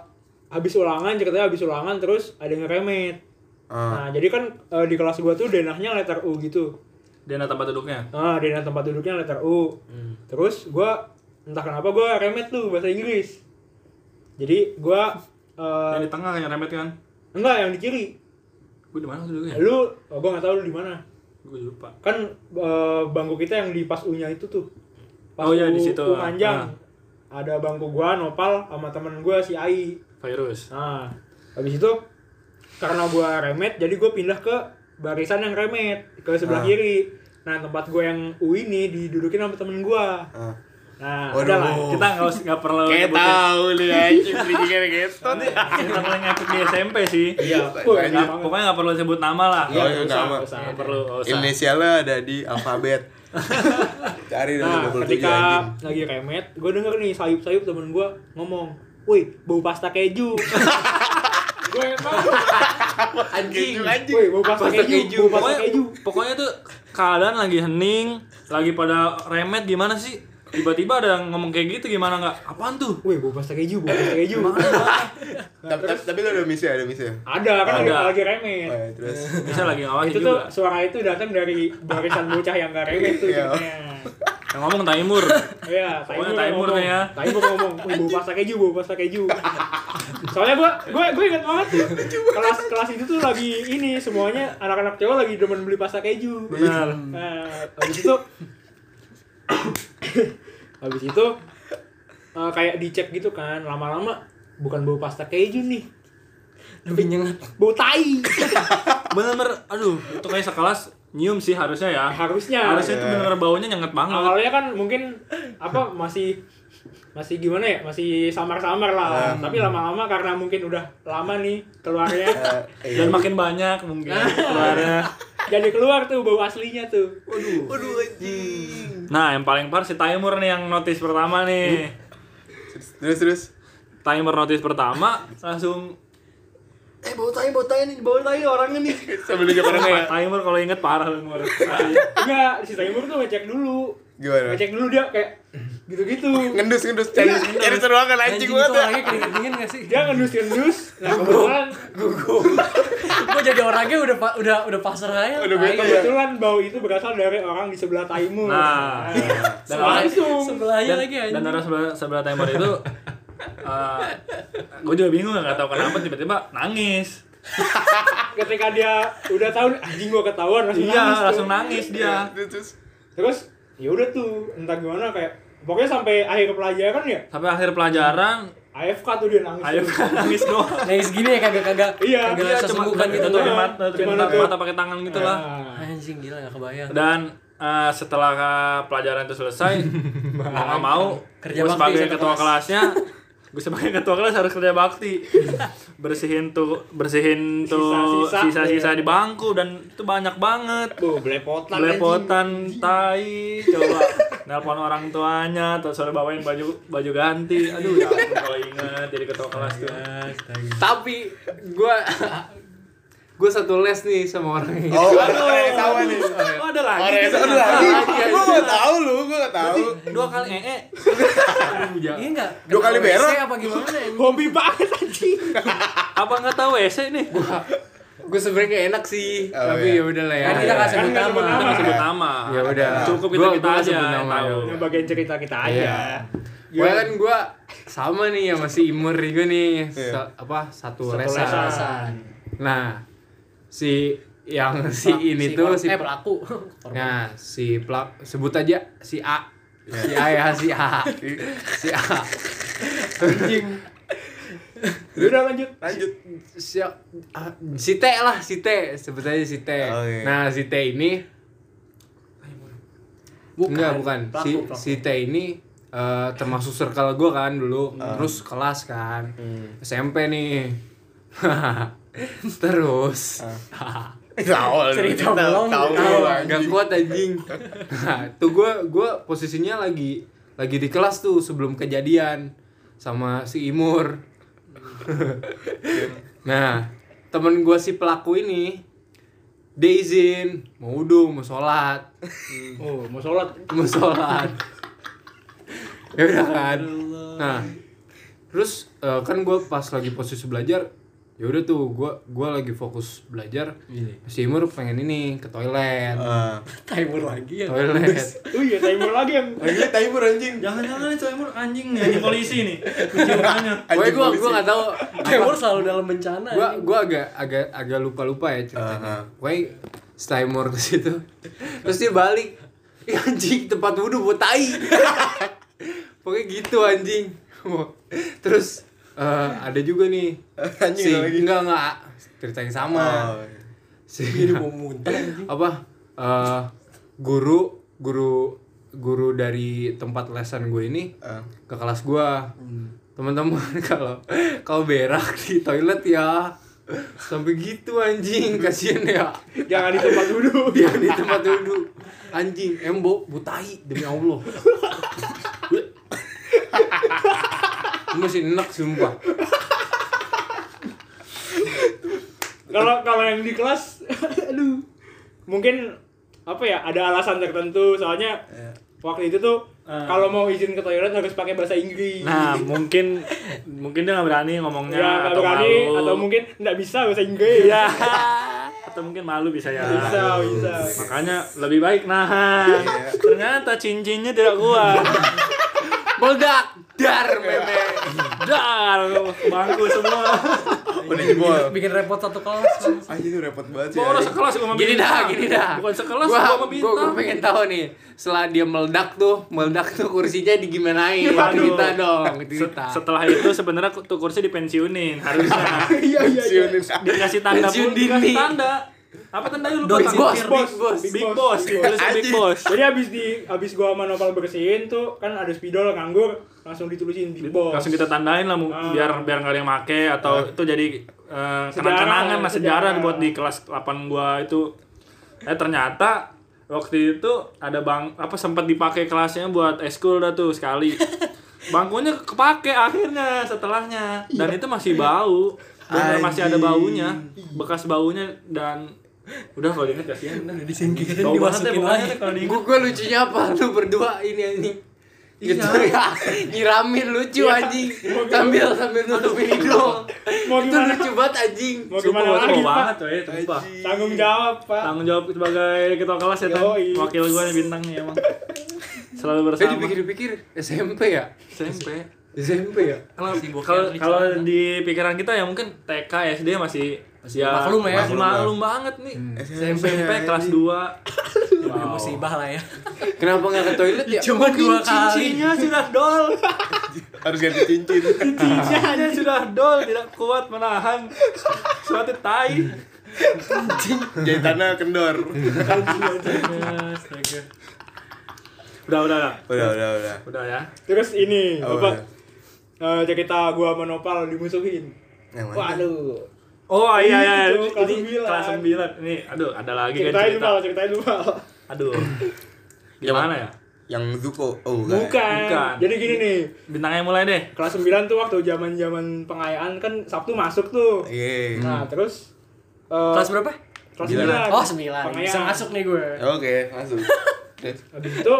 Speaker 1: habis ulangan ceritanya habis ulangan terus ada yang ngeremet
Speaker 3: Ah.
Speaker 1: nah jadi kan eh, di kelas gua tuh denahnya letter U gitu
Speaker 4: Dena tempat duduknya
Speaker 1: ah denah tempat duduknya letter U
Speaker 4: Hmm.
Speaker 1: terus gua entah kenapa gua remet tuh bahasa Inggris jadi gua eh,
Speaker 3: Uh,
Speaker 4: yang di tengah yang remet kan
Speaker 1: enggak yang di kiri
Speaker 4: gue di mana waktu duduknya
Speaker 1: lu oh, gua nggak tahu lu di mana
Speaker 4: gue lupa
Speaker 1: kan eh, bangku kita yang di pas U-nya itu tuh. Pas
Speaker 4: Oh iya,
Speaker 1: U-
Speaker 4: di situ. Ah.
Speaker 1: U panjang. Ada bangku gua Nopal sama temen gua si Ai.
Speaker 4: virus
Speaker 1: Nah, habis itu karena gua remet jadi gua pindah ke barisan yang remet ke sebelah
Speaker 3: Ah.
Speaker 1: kiri. Nah, tempat gua yang U ini didudukin sama temen gua.
Speaker 3: Ah.
Speaker 1: Nah,
Speaker 3: Waduh.
Speaker 1: udah lah.
Speaker 4: kita nggak usah nggak perlu
Speaker 3: Kayak
Speaker 4: nyebutin.
Speaker 3: tahu
Speaker 4: *laughs*
Speaker 3: nih anjing pendidikan gestot.
Speaker 4: kita mulai ngakut di SMP sih
Speaker 1: Iya,
Speaker 3: Lanjut.
Speaker 1: gua
Speaker 4: Nggak- pokoknya nggak perlu sebut nama lah
Speaker 3: Iya,
Speaker 1: nggak usah,
Speaker 3: nama.
Speaker 1: nggak usah.
Speaker 4: nggak perlu nggak usah
Speaker 3: Inisialnya ada di alfabet. Cari dari
Speaker 1: Nah,
Speaker 3: 27
Speaker 1: ketika
Speaker 3: Iya, anjing.
Speaker 1: lagi remet, gue denger nih sayup-sayup temen gue ngomong, woi bau pasta keju. gue emang,
Speaker 3: Anjing anjing.
Speaker 1: woi bau pasta
Speaker 2: Pasta keju.
Speaker 1: keju, bau pasta
Speaker 4: pokoknya,
Speaker 1: keju.
Speaker 4: pokoknya tuh keadaan lagi hening lagi pada remet gimana sih tiba-tiba ada yang ngomong kayak gitu gimana nggak apaan tuh
Speaker 1: Woi bau pasta keju, bau pasta keju.
Speaker 3: Tapi tapi lu ada misi ada misi.
Speaker 1: Ada kan lagi,
Speaker 4: Ada.
Speaker 1: lagi remet.
Speaker 3: Eh, terus
Speaker 4: bisa lagi ngawasin
Speaker 1: Itu tuh
Speaker 4: juga
Speaker 1: suara itu datang dari barisan bocah yang gak remet tuh.
Speaker 3: Iya.
Speaker 1: ceritanya.
Speaker 4: yang ngomong Taimur
Speaker 1: Iya,
Speaker 4: Pokoknya
Speaker 1: Taimur
Speaker 4: Taimur
Speaker 1: ngomong.
Speaker 4: nih ya.
Speaker 1: Taimur ngomong, "Wih, bau pasta keju, bau pasta keju." Soalnya gua gua gua ingat banget tuh. kelas kelas itu tuh lagi ini semuanya anak-anak cowok lagi demen beli pasta keju.
Speaker 4: Benar.
Speaker 1: Nah, habis itu *coughs* habis itu eh, kayak dicek gitu kan, lama-lama bukan bau pasta keju nih,
Speaker 2: lebih nyengat
Speaker 1: bau tai.
Speaker 4: bener-bener aduh itu kayak sekelas nyium sih harusnya ya
Speaker 3: Iya,
Speaker 1: Harusnya.
Speaker 4: harusnya itu bener-bener baunya nyengat banget
Speaker 1: awalnya kan mungkin apa masih masih gimana ya masih samar-samar lah
Speaker 4: Nah.
Speaker 1: tapi lama-lama karena mungkin udah lama nih
Speaker 4: *laughs*
Speaker 1: keluarnya
Speaker 4: Nah.
Speaker 3: eh, iya.
Speaker 4: dan makin banyak mungkin keluarnya
Speaker 1: jadi keluar tuh bau aslinya tuh
Speaker 3: Waduh anjing.
Speaker 4: nah yang paling par si Taimur nih yang notice pertama nih
Speaker 3: Terus terus.
Speaker 4: Timer notice pertama langsung
Speaker 3: Eh bau tai bau tai nih bau tai orangnya nih. Sambil dia
Speaker 4: parah
Speaker 3: pernah
Speaker 4: ya? Timer kalau inget parah lu Mur.
Speaker 1: enggak si Taimur tuh ngecek dulu
Speaker 4: Nah.
Speaker 3: Gimana?
Speaker 1: ngecek dulu dia kayak gitu-gitu
Speaker 3: ngendus ngendus cari cari seruangan anjing gua
Speaker 2: itu
Speaker 3: tuh.
Speaker 2: orangnya keringet dingin gak sih
Speaker 1: dia ngendus-ngendus nah kebetulan
Speaker 2: gue jadi orangnya udah pa- udah udah pasar aja
Speaker 3: Udah bete ya.
Speaker 1: kebetulan bau itu berasal dari orang di sebelah Taimur
Speaker 4: Nah, dan
Speaker 1: Sebelah-
Speaker 4: orang-
Speaker 1: langsung.
Speaker 2: sebelahnya
Speaker 4: dan,
Speaker 2: lagi anjing
Speaker 4: dan orang sebelah sebelah Timer itu gue juga bingung nggak tahu kenapa tiba-tiba nangis.
Speaker 1: ketika dia udah tahu anjing gua ketahuan langsung
Speaker 4: Iya,
Speaker 1: nangis tuh.
Speaker 4: langsung nangis dia.
Speaker 3: Terus, terus.
Speaker 1: terus ya udah tuh entah gimana kayak pokoknya sampai akhir pelajaran ya
Speaker 4: Sampai akhir pelajaran,
Speaker 1: AFK tuh dia nangis
Speaker 4: ayo *laughs*
Speaker 1: tuh.
Speaker 4: nangis doang.
Speaker 2: nangis gini ya kagak kagak
Speaker 1: Iya,
Speaker 2: kagak
Speaker 1: iya,
Speaker 2: rasa
Speaker 4: Cuma
Speaker 2: sunggukan gitu
Speaker 4: tutupin
Speaker 1: doang.
Speaker 4: kan mata, tutupin
Speaker 1: Cuman
Speaker 4: mata,
Speaker 1: itu.
Speaker 4: mata pakai tangan gitu lah.
Speaker 1: Nah,
Speaker 2: anjing gila gak kebayang
Speaker 4: Dan eh, setelah eh, pelajaran itu
Speaker 1: *laughs*
Speaker 4: selesai, mau nggak mau,
Speaker 2: Kerja
Speaker 4: gue
Speaker 2: bakti
Speaker 4: sebagai
Speaker 2: satu
Speaker 4: ketua
Speaker 2: kelas.
Speaker 4: kelasnya, gue sebagai ketua kelas harus kerja
Speaker 2: *laughs*
Speaker 4: bakti, bersihin tuh, bersihin tuh
Speaker 1: Sisa-sisa. Iya.
Speaker 4: sisa-sisa di bangku dan itu banyak banget.
Speaker 1: Bu, belepotan
Speaker 4: Belepotan tai, coba nelpon orang tuanya, terus sore bawain baju baju ganti. Aduh ya, ampun, kalau ingat jadi ketua kelas tuh.
Speaker 1: Iya.
Speaker 5: Tapi gua *laughs* gua satu les nih sama orang ini.
Speaker 3: Oh, orang yang sama nih.
Speaker 4: Oh, ada lagi.
Speaker 3: Orang yang sama lagi. Gua nggak tahu lu, gua nggak tahu.
Speaker 4: Dua kali eh, ee.
Speaker 2: iya gak
Speaker 3: Dua kali berak.
Speaker 2: apa gimana anjing?
Speaker 1: Hobi banget anjing.
Speaker 4: Apa nggak tahu WC nih?
Speaker 1: *laughs*
Speaker 5: Gua sebenarnya gak enak sih,
Speaker 3: Oh,
Speaker 5: tapi
Speaker 3: iya.
Speaker 5: ya udah lah ya.
Speaker 2: kan kita gak
Speaker 1: Kan
Speaker 2: sebut
Speaker 1: nggak sebut
Speaker 2: nama
Speaker 4: Kita nggak
Speaker 1: nama.
Speaker 4: sebut nama.
Speaker 5: Ya udah.
Speaker 4: Cukup kita
Speaker 5: Gua-
Speaker 4: kita
Speaker 5: gua
Speaker 4: aja
Speaker 5: sebut
Speaker 4: yang
Speaker 5: nama,
Speaker 4: tahu.
Speaker 5: ya.
Speaker 1: Yang bagian cerita kita
Speaker 4: Iya.
Speaker 1: aja.
Speaker 5: Gua kan gua sama nih ya masih imur nih gua nih Sa- apa satu,
Speaker 1: Satu
Speaker 5: lesan.
Speaker 1: lesan.
Speaker 5: Nah, si yang Nah, si ini tuh
Speaker 2: kor-
Speaker 5: si
Speaker 2: eh, pelaku
Speaker 5: Nah, si pelak sebut aja si A. Si A ya, si A. Si A. Anjing.
Speaker 1: Ya Udah lanjut.
Speaker 3: Lanjut.
Speaker 5: Si, ah, si T lah, si T. Sebut aja si T.
Speaker 3: Oke.
Speaker 5: Nah, si T ini Enggak, bukan. si
Speaker 2: Pelaku, pelaku.
Speaker 5: si T ini eh, termasuk circle gue kan dulu. Terus kelas kan.
Speaker 3: Hmm.
Speaker 5: SMP nih. *laughs* Terus.
Speaker 3: Tahu lu.
Speaker 2: Cerita
Speaker 3: Tahu,
Speaker 2: belum,
Speaker 3: Tahu
Speaker 2: tahu.
Speaker 3: lu
Speaker 5: Gak
Speaker 3: anjing.
Speaker 5: kuat anjing. *laughs* Nah, tuh gue gua posisinya lagi lagi di kelas tuh sebelum kejadian sama si Imur. *laughs* nah, temen gue si pelaku ini dia izin mau wudhu mau sholat
Speaker 1: Oh, mau sholat.
Speaker 5: mau sholat ya udah kan nah terus eh, kan gue pas lagi posisi belajar ya udah tuh gue gua lagi fokus belajar si Imur pengen ini ke toilet
Speaker 3: Ah.
Speaker 2: Timer lagi ya.
Speaker 5: toilet
Speaker 1: *laughs* Oh iya, timer lagi yang
Speaker 3: Lagi timer anjing.
Speaker 4: Jangan-jangan itu emang anjing nih polisi nih. Keciumannya.
Speaker 5: gue gue gue nggak tahu
Speaker 2: Timer selalu dalam bencana.
Speaker 5: gue
Speaker 2: anjing.
Speaker 5: gue agak agak agak lupa lupa
Speaker 3: Ah, ah.
Speaker 5: ya ceritanya Pokoknya Steimor ke situ *laughs* terus dia balik "Ih, anjing tempat wudhu buat tai *laughs* pokoknya gitu anjing *laughs* terus eh, ada juga nih
Speaker 3: *laughs* Anjing
Speaker 5: si
Speaker 3: ada lagi.
Speaker 5: enggak enggak cerita yang sama
Speaker 3: Oh.
Speaker 5: si *laughs* apa eh, guru guru guru dari tempat lesan gue ini
Speaker 3: Ah.
Speaker 5: ke kelas gua
Speaker 4: Hmm.
Speaker 5: teman-teman *laughs* kalau kalau berak di toilet ya sampai gitu anjing *laughs* kasihan ya
Speaker 1: jangan di tempat duduk.
Speaker 5: dia di tempat duduk anjing embo butai demi allah Gua masih enak sumpah
Speaker 1: Kalau kalau yang di kelas *laughs* aduh. Mungkin apa ya, ada alasan tertentu soalnya
Speaker 4: Iya.
Speaker 1: waktu itu tuh kalau mau izin ke toilet harus pakai bahasa Inggris.
Speaker 4: Ah. Nah, mungkin mungkin dia Iya, nggak berani ngomongnya
Speaker 1: ya, atau
Speaker 4: atau
Speaker 1: berani
Speaker 4: malu.
Speaker 1: atau mungkin nggak bisa bahasa Inggris.
Speaker 4: ya. *laughs* atau mungkin malu bisa Iya. ya.
Speaker 1: Bisa, bisa.
Speaker 4: Makanya lebih baik nahan. Ternyata cincinnya tidak kuat.
Speaker 5: meledak dar meme
Speaker 4: Dar, bangku semua.
Speaker 3: Udah jebol.
Speaker 2: bikin repot satu kelas. kan.
Speaker 3: Anjing itu repot banget sih.
Speaker 4: Mau orang
Speaker 3: anjing.
Speaker 4: sekelas gua sama
Speaker 5: gini
Speaker 4: bintang.
Speaker 5: dah gini dah
Speaker 4: Bukan sekelas gua
Speaker 5: gua,
Speaker 4: sama
Speaker 5: gua,
Speaker 4: bintang.
Speaker 5: gua pengen tahu nih setelah dia meledak tuh meledak tuh kursinya digimanain
Speaker 4: Waduh.
Speaker 5: cerita dong
Speaker 4: Set-
Speaker 5: cerita
Speaker 4: Setelah itu sebenarnya tuh kursi dipensiunin harusnya.
Speaker 1: Iya, iya, iya.
Speaker 4: dikasih tanda pun
Speaker 5: Pensiun
Speaker 4: dikasih
Speaker 5: dini.
Speaker 4: tanda apa tanda lu lupa
Speaker 5: Big
Speaker 4: Bang?
Speaker 5: boss,
Speaker 4: Big
Speaker 5: big
Speaker 4: boss
Speaker 5: boss.
Speaker 4: big boss ditulis big boss
Speaker 1: Jadi abis di abis gua sama Nopal bersihin tuh kan ada spidol nganggur langsung ditulisin big boss.
Speaker 4: langsung kita tandain lah mu-
Speaker 1: Ah.
Speaker 4: biar biar nggak ada yang make atau itu jadi eh, kenang-kenangan lah
Speaker 1: Sejarah.
Speaker 4: Ah. sejarah buat di kelas 8 gua itu eh ternyata waktu itu ada bang apa sempat dipakai kelasnya buat eskul dah tuh *laughs* sekali bangkunya kepake akhirnya setelahnya dan itu masih bau dan masih ada baunya bekas baunya dan udah kalau diinget kasihan dah
Speaker 2: Disingkirin
Speaker 4: bau banget deh
Speaker 2: dimasukin
Speaker 4: pokoknya
Speaker 2: lagi.
Speaker 4: deh kalau diinget
Speaker 5: Gue gue lucunya apa *laughs* lu berdua ini anjing gitu ya *laughs* nyiramin lucu anjing sambil sambil nutupin hidung
Speaker 1: Mau
Speaker 5: itu
Speaker 1: gimana?
Speaker 5: lucu banget anjing
Speaker 1: Mau
Speaker 4: Sumpah,
Speaker 1: gimana
Speaker 4: gua
Speaker 1: lagi,
Speaker 4: bau banget
Speaker 1: Pak?
Speaker 4: coy, sumpah.
Speaker 1: Tanggung jawab, Pak.
Speaker 4: Tanggung jawab sebagai ketua kelas ya, Tan.
Speaker 1: Yoi.
Speaker 4: Wakil gue bintangnya emang. Selalu
Speaker 2: Eh,
Speaker 5: tapi
Speaker 4: bersama.
Speaker 5: dipikir-pikir SMP ya
Speaker 4: SMP.
Speaker 5: SMP ya
Speaker 4: Kalau kalau- kalau di pikiran kita ya mungkin TK, SD masih masih ya,
Speaker 2: maklum ya.
Speaker 4: Masih maklum banget nih.
Speaker 1: Hmm.
Speaker 4: SMP, kelas 2.
Speaker 2: Ya, musibah lah ya.
Speaker 5: kenapa nggak ke toilet ya
Speaker 2: Cuma dua kali.
Speaker 4: Cincinnya sudah dol.
Speaker 3: Harus ganti cincin.
Speaker 4: Cincinnya sudah dol, tidak kuat menahan suatu tai.
Speaker 3: Jadi tanah kendor.
Speaker 4: Astaga. Udah, udah, udah.
Speaker 3: Udah, udah, udah.
Speaker 4: Udah ya.
Speaker 1: Terus ini
Speaker 4: Oh.
Speaker 3: Apa?
Speaker 1: apa? Eh cerita gua sama Nopal dimusuhin.
Speaker 3: Yang mana?
Speaker 1: Waduh.
Speaker 4: Oh iya iya
Speaker 1: Itu,
Speaker 4: ini
Speaker 1: kelas
Speaker 4: kelas
Speaker 1: sembilan.
Speaker 4: 9. Ini aduh ada lagi kan
Speaker 1: Ceritain
Speaker 4: cerita.
Speaker 1: Nopal, ceritain Nopal.
Speaker 4: Aduh. *laughs* Gimana ya?
Speaker 3: Yang Zuko. Oh,
Speaker 1: Bukan.
Speaker 3: enggak.
Speaker 4: Bukan.
Speaker 1: Jadi gini nih,
Speaker 4: Bintangnya mulai deh.
Speaker 1: kelas 9 tuh waktu zaman-zaman pengayaan kan Sabtu masuk tuh.
Speaker 4: Hmm.
Speaker 3: Iya.
Speaker 1: Nah, terus eh,
Speaker 2: Kelas berapa?
Speaker 1: kelas
Speaker 3: Sembilan.
Speaker 1: 9.
Speaker 2: Oh, sembilan.
Speaker 1: Pengayaan.
Speaker 2: Bisa masuk nih gue.
Speaker 3: Oke, masuk.
Speaker 1: Habis itu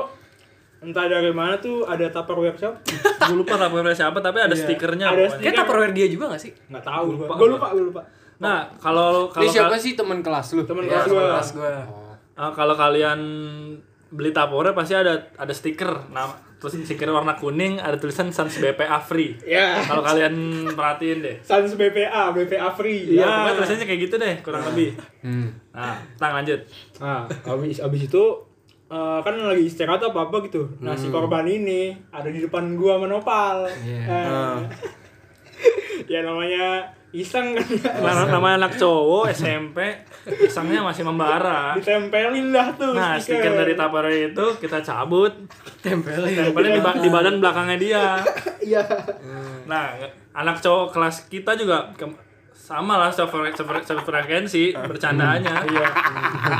Speaker 1: entah dari mana tuh ada tupperware shop
Speaker 4: Gue lupa rapor siapa tapi ada
Speaker 1: Iya.
Speaker 4: stikernya.
Speaker 1: Ada
Speaker 4: pokoknya.
Speaker 1: stiker.
Speaker 2: Kayak tupperware dia juga gak sih?
Speaker 1: nggak tahu
Speaker 4: Lupa
Speaker 1: lupa
Speaker 4: gua.
Speaker 1: gue lupa gue lupa
Speaker 4: Nah, kalau kalau
Speaker 5: ini siapa sih teman kelas lu
Speaker 1: temen
Speaker 2: Iya,
Speaker 1: kelas gue
Speaker 2: kelas gue.
Speaker 4: ah, kalau kalian beli tapore pasti ada ada stiker nama terus stiker warna kuning ada tulisan Sans BPA free.
Speaker 1: ya
Speaker 4: Kalau kalian perhatiin deh.
Speaker 1: sans BPA BPA free
Speaker 4: Iya,
Speaker 1: Ya.
Speaker 4: pokoknya tulisannya kayak gitu deh, kurang lebih. Nah, tang lanjut.
Speaker 1: nah abis abis itu eh, kan lagi istirahat apa apa gitu nah
Speaker 4: Hmm.
Speaker 1: si korban ini ada di depan gua menopal
Speaker 4: Iya. Ah.
Speaker 1: *laughs* ya namanya iseng kan ya.
Speaker 4: *laughs* Nama, nama anak cowok SMP, pisangnya masih membara.
Speaker 1: ditempelin lah tuh
Speaker 4: Nah, stiker dari Tapare itu kita cabut,
Speaker 2: Tempelin.
Speaker 4: tempelin di, ba- di badan belakangnya dia.
Speaker 1: iya
Speaker 4: Nah, nge- anak cowok kelas kita juga ke- sama lah sefre- sefre- sefrekuensi bercandaannya.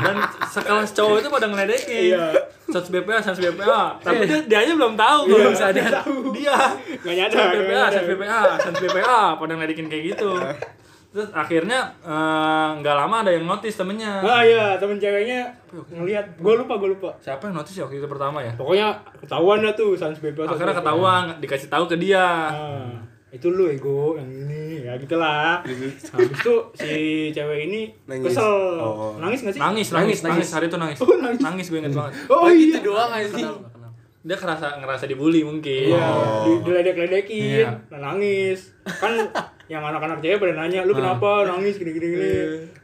Speaker 4: Dan sekelas cowok itu pada ngeledekin.
Speaker 1: Iya.
Speaker 4: Satu BPA, satu BPA. Tapi dia, dia aja belum tahu Iya. belum sadar. Dia
Speaker 1: nggak nyadar
Speaker 4: Sans
Speaker 1: nggak
Speaker 4: BPA,
Speaker 1: nyadar.
Speaker 4: Sans BPA, Sans BPA, pada ngeledekin kayak gitu. Terus Terus akhirnya eh, nggak lama ada yang notice temennya.
Speaker 1: Ah iya, temen ceweknya ngelihat. Gua lupa, gua lupa.
Speaker 4: Siapa yang notice ya waktu itu pertama ya?
Speaker 1: Pokoknya ketahuan dah tuh sans bebas.
Speaker 4: Akhirnya
Speaker 1: Sans
Speaker 4: ketahuan, dikasih tahu ke dia.
Speaker 1: Ah, itu lu ego yang ini ya gitu lah habis itu si cewek ini
Speaker 3: Nangis.
Speaker 1: kesel
Speaker 3: Oh.
Speaker 1: nangis gak sih
Speaker 4: Nangis, nangis, nangis, hari itu nangis. nangis. gue inget banget.
Speaker 1: oh
Speaker 5: Gitu
Speaker 1: iya
Speaker 2: doang anjing
Speaker 4: Dia kerasa ngerasa dibully mungkin.
Speaker 1: iya di- diledek-ledekin
Speaker 4: Iya.
Speaker 1: nah, nangis kan yang anak-anak cewek pada nanya
Speaker 4: Ah.
Speaker 1: lu kenapa nangis gini gini gini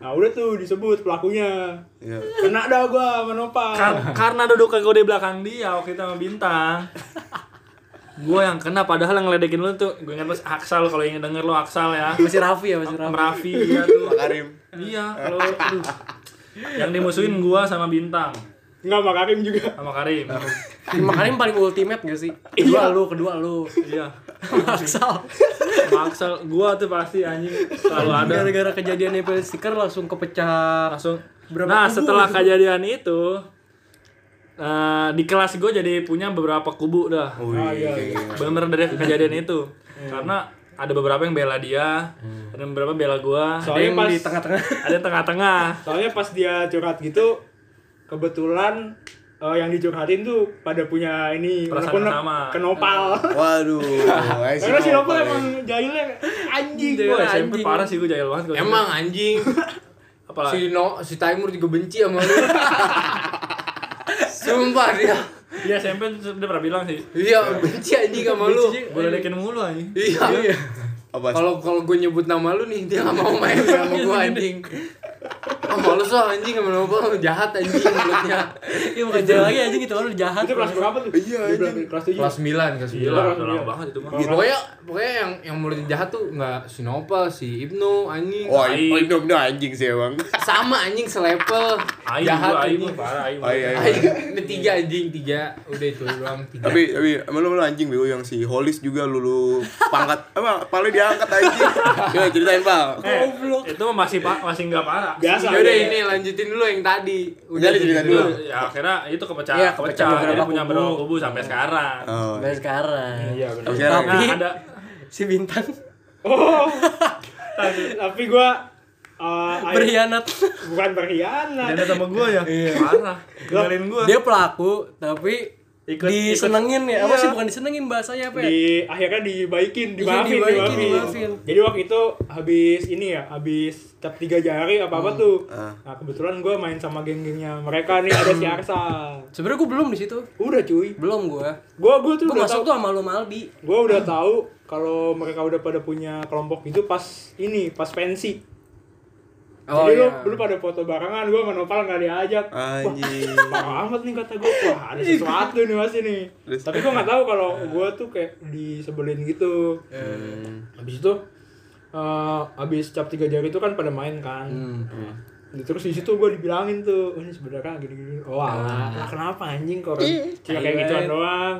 Speaker 1: nah udah tuh disebut pelakunya
Speaker 3: Iya.
Speaker 1: kena dah gua menopang
Speaker 4: Kar- karena duduk ke gue di belakang dia waktu itu sama bintang gue yang kena padahal yang ngeledekin lu tuh gue ingat pas Aksal kalau ingin denger lu Aksal ya
Speaker 2: masih Raffi ya masih Raffi
Speaker 4: Merafi ya tuh
Speaker 3: Karim.
Speaker 4: iya lo aduh. yang dimusuhin gue sama bintang
Speaker 1: nggak sama Karim juga
Speaker 4: sama Karim
Speaker 2: makanya yang paling ultimate gak sih kedua lu kedua lu
Speaker 4: iya
Speaker 2: maksal
Speaker 4: sama Aksal gue tuh pasti anjing selalu ada
Speaker 2: gara-gara kejadian nempel stiker langsung kepecah
Speaker 4: langsung
Speaker 2: Berapa
Speaker 4: nah
Speaker 2: kubu
Speaker 4: setelah kejadian itu eh, di kelas gue jadi punya beberapa kubu dah
Speaker 3: Wih, kayak gini.
Speaker 4: bener dari
Speaker 1: Iya.
Speaker 4: kejadian itu karena ada beberapa yang bela dia
Speaker 1: Hmm.
Speaker 4: ada beberapa bela gua ada
Speaker 1: Soalnya
Speaker 4: yang
Speaker 1: pas-
Speaker 4: di tengah-tengah ada yang tengah-tengah
Speaker 1: soalnya pas dia curhat gitu kebetulan eh, yang dicurhatin tuh pada punya ini
Speaker 4: Perasaan
Speaker 1: unek-unek,
Speaker 4: sama.
Speaker 1: kenopal
Speaker 3: Waduh,
Speaker 1: Karena Ah. si Nopal ya.
Speaker 3: Nopal,
Speaker 1: emang jahilnya anjing.
Speaker 4: gua SMP parah sih gua jahil banget gua
Speaker 5: Emang anjing.
Speaker 4: apalagi
Speaker 5: si no, si Taimur juga benci sama lu. *laughs* Sumpah dia.
Speaker 4: dia SMP tuh dia pernah bilang sih
Speaker 5: Iya, benci anjing sama lu.
Speaker 4: gua ledekin mulu anjing
Speaker 5: Iya.
Speaker 3: Apa sih?
Speaker 5: Kalau kalau gue nyebut nama lu nih, dia gak mau main *laughs* sama
Speaker 2: Iya,
Speaker 5: gue anjing. Sama lu so Oh, anjing sama lu apa? jahat anjing mulutnya.
Speaker 2: iya bukan jalan lagi anjing gitu orang jahat
Speaker 1: Itu kelas berapa tuh?
Speaker 3: Iya,
Speaker 1: Di berapa? Kelas 7.
Speaker 5: Kelas 9 kelas
Speaker 1: Iya,
Speaker 4: gila
Speaker 5: 9.
Speaker 4: udah lama banget itu mah
Speaker 5: Pokoknya pokoknya yang yang mulutnya jahat tuh nggak si Nopal, si Ibnu anjing.
Speaker 3: Wah, ini ini- ini anjing sih emang.
Speaker 5: Sama anjing selevel.
Speaker 4: aing
Speaker 5: Jahat
Speaker 4: gua aing
Speaker 5: anjing.
Speaker 4: gua parah aing
Speaker 3: Ay, ay, ay.
Speaker 5: Anjing, Ini tiga anjing, tiga. Udah itu doang, tiga.
Speaker 3: Tapi tapi emang lu, lu anjing bego yang si Holis juga lu, lu pangkat emang paling diangkat anjing. Gimana ceritain, Bang?
Speaker 1: ya?
Speaker 4: Eh, itu mah masih pak masih nggak parah
Speaker 1: Biasa. iya.
Speaker 5: Yaudah Ya ini lanjutin dulu yang tadi.
Speaker 3: Udah diceritain
Speaker 4: Itu,
Speaker 3: dulu.
Speaker 4: ya akhirnya itu kepecah
Speaker 2: Iya, kepecah
Speaker 4: kepecah jadi
Speaker 2: beberapa
Speaker 4: punya
Speaker 2: kubu.
Speaker 4: berapa kubu sampai sekarang
Speaker 3: Oh.
Speaker 2: dari sekarang
Speaker 1: Iya benar.
Speaker 3: Tapi sekarang
Speaker 4: nah ada
Speaker 2: si bintang
Speaker 1: Oh. Tapi gua eh, ayo-
Speaker 2: berkhianat
Speaker 1: bukan berkhianat.
Speaker 4: ada sama gua ya
Speaker 1: Iya.
Speaker 4: parah tinggalin gua
Speaker 2: dia pelaku tapi
Speaker 4: Ikut-
Speaker 2: disenengin ya apa
Speaker 1: Iya.
Speaker 2: sih bukan disenengin bahasanya apa ya
Speaker 1: Di akhirnya dibaikin,
Speaker 2: Iya,
Speaker 1: dimaafin,
Speaker 2: dibaikin,
Speaker 1: dimaafin.
Speaker 2: dimaafin.
Speaker 1: Jadi waktu itu habis ini ya, habis tiap tiga jari apa apa tuh.
Speaker 3: Ah.
Speaker 1: Nah kebetulan gua main sama geng-gengnya mereka nih ada si Arsal.
Speaker 2: sebenarnya gue belum di situ
Speaker 1: Udah cuy.
Speaker 2: belum gue
Speaker 1: Gua gua tuh
Speaker 2: gue
Speaker 1: udah
Speaker 2: masuk
Speaker 1: tahu.
Speaker 2: tuh sama lo Malbi
Speaker 1: Gua udah tahu kalau mereka udah pada punya kelompok itu pas ini, pas pensi.
Speaker 2: Oh,
Speaker 1: Jadi lu,
Speaker 2: iya.
Speaker 1: lu pada foto barengan, gue sama Nopal gak diajak
Speaker 3: Anjing.
Speaker 1: Wah, parah amat nih kata gue, wah ada sesuatu nih pasti nih
Speaker 3: Terus?
Speaker 1: Tapi gue gak tahu kalau gue tuh kayak disebelin gitu Habis itu, eh habis cap tiga jari itu kan pada main kan Nah, Terus di situ gue dibilangin tuh, "Oh, ini sebenarnya gini-gini Wah, lah kenapa anjing kok orang cuma kayak gituan doang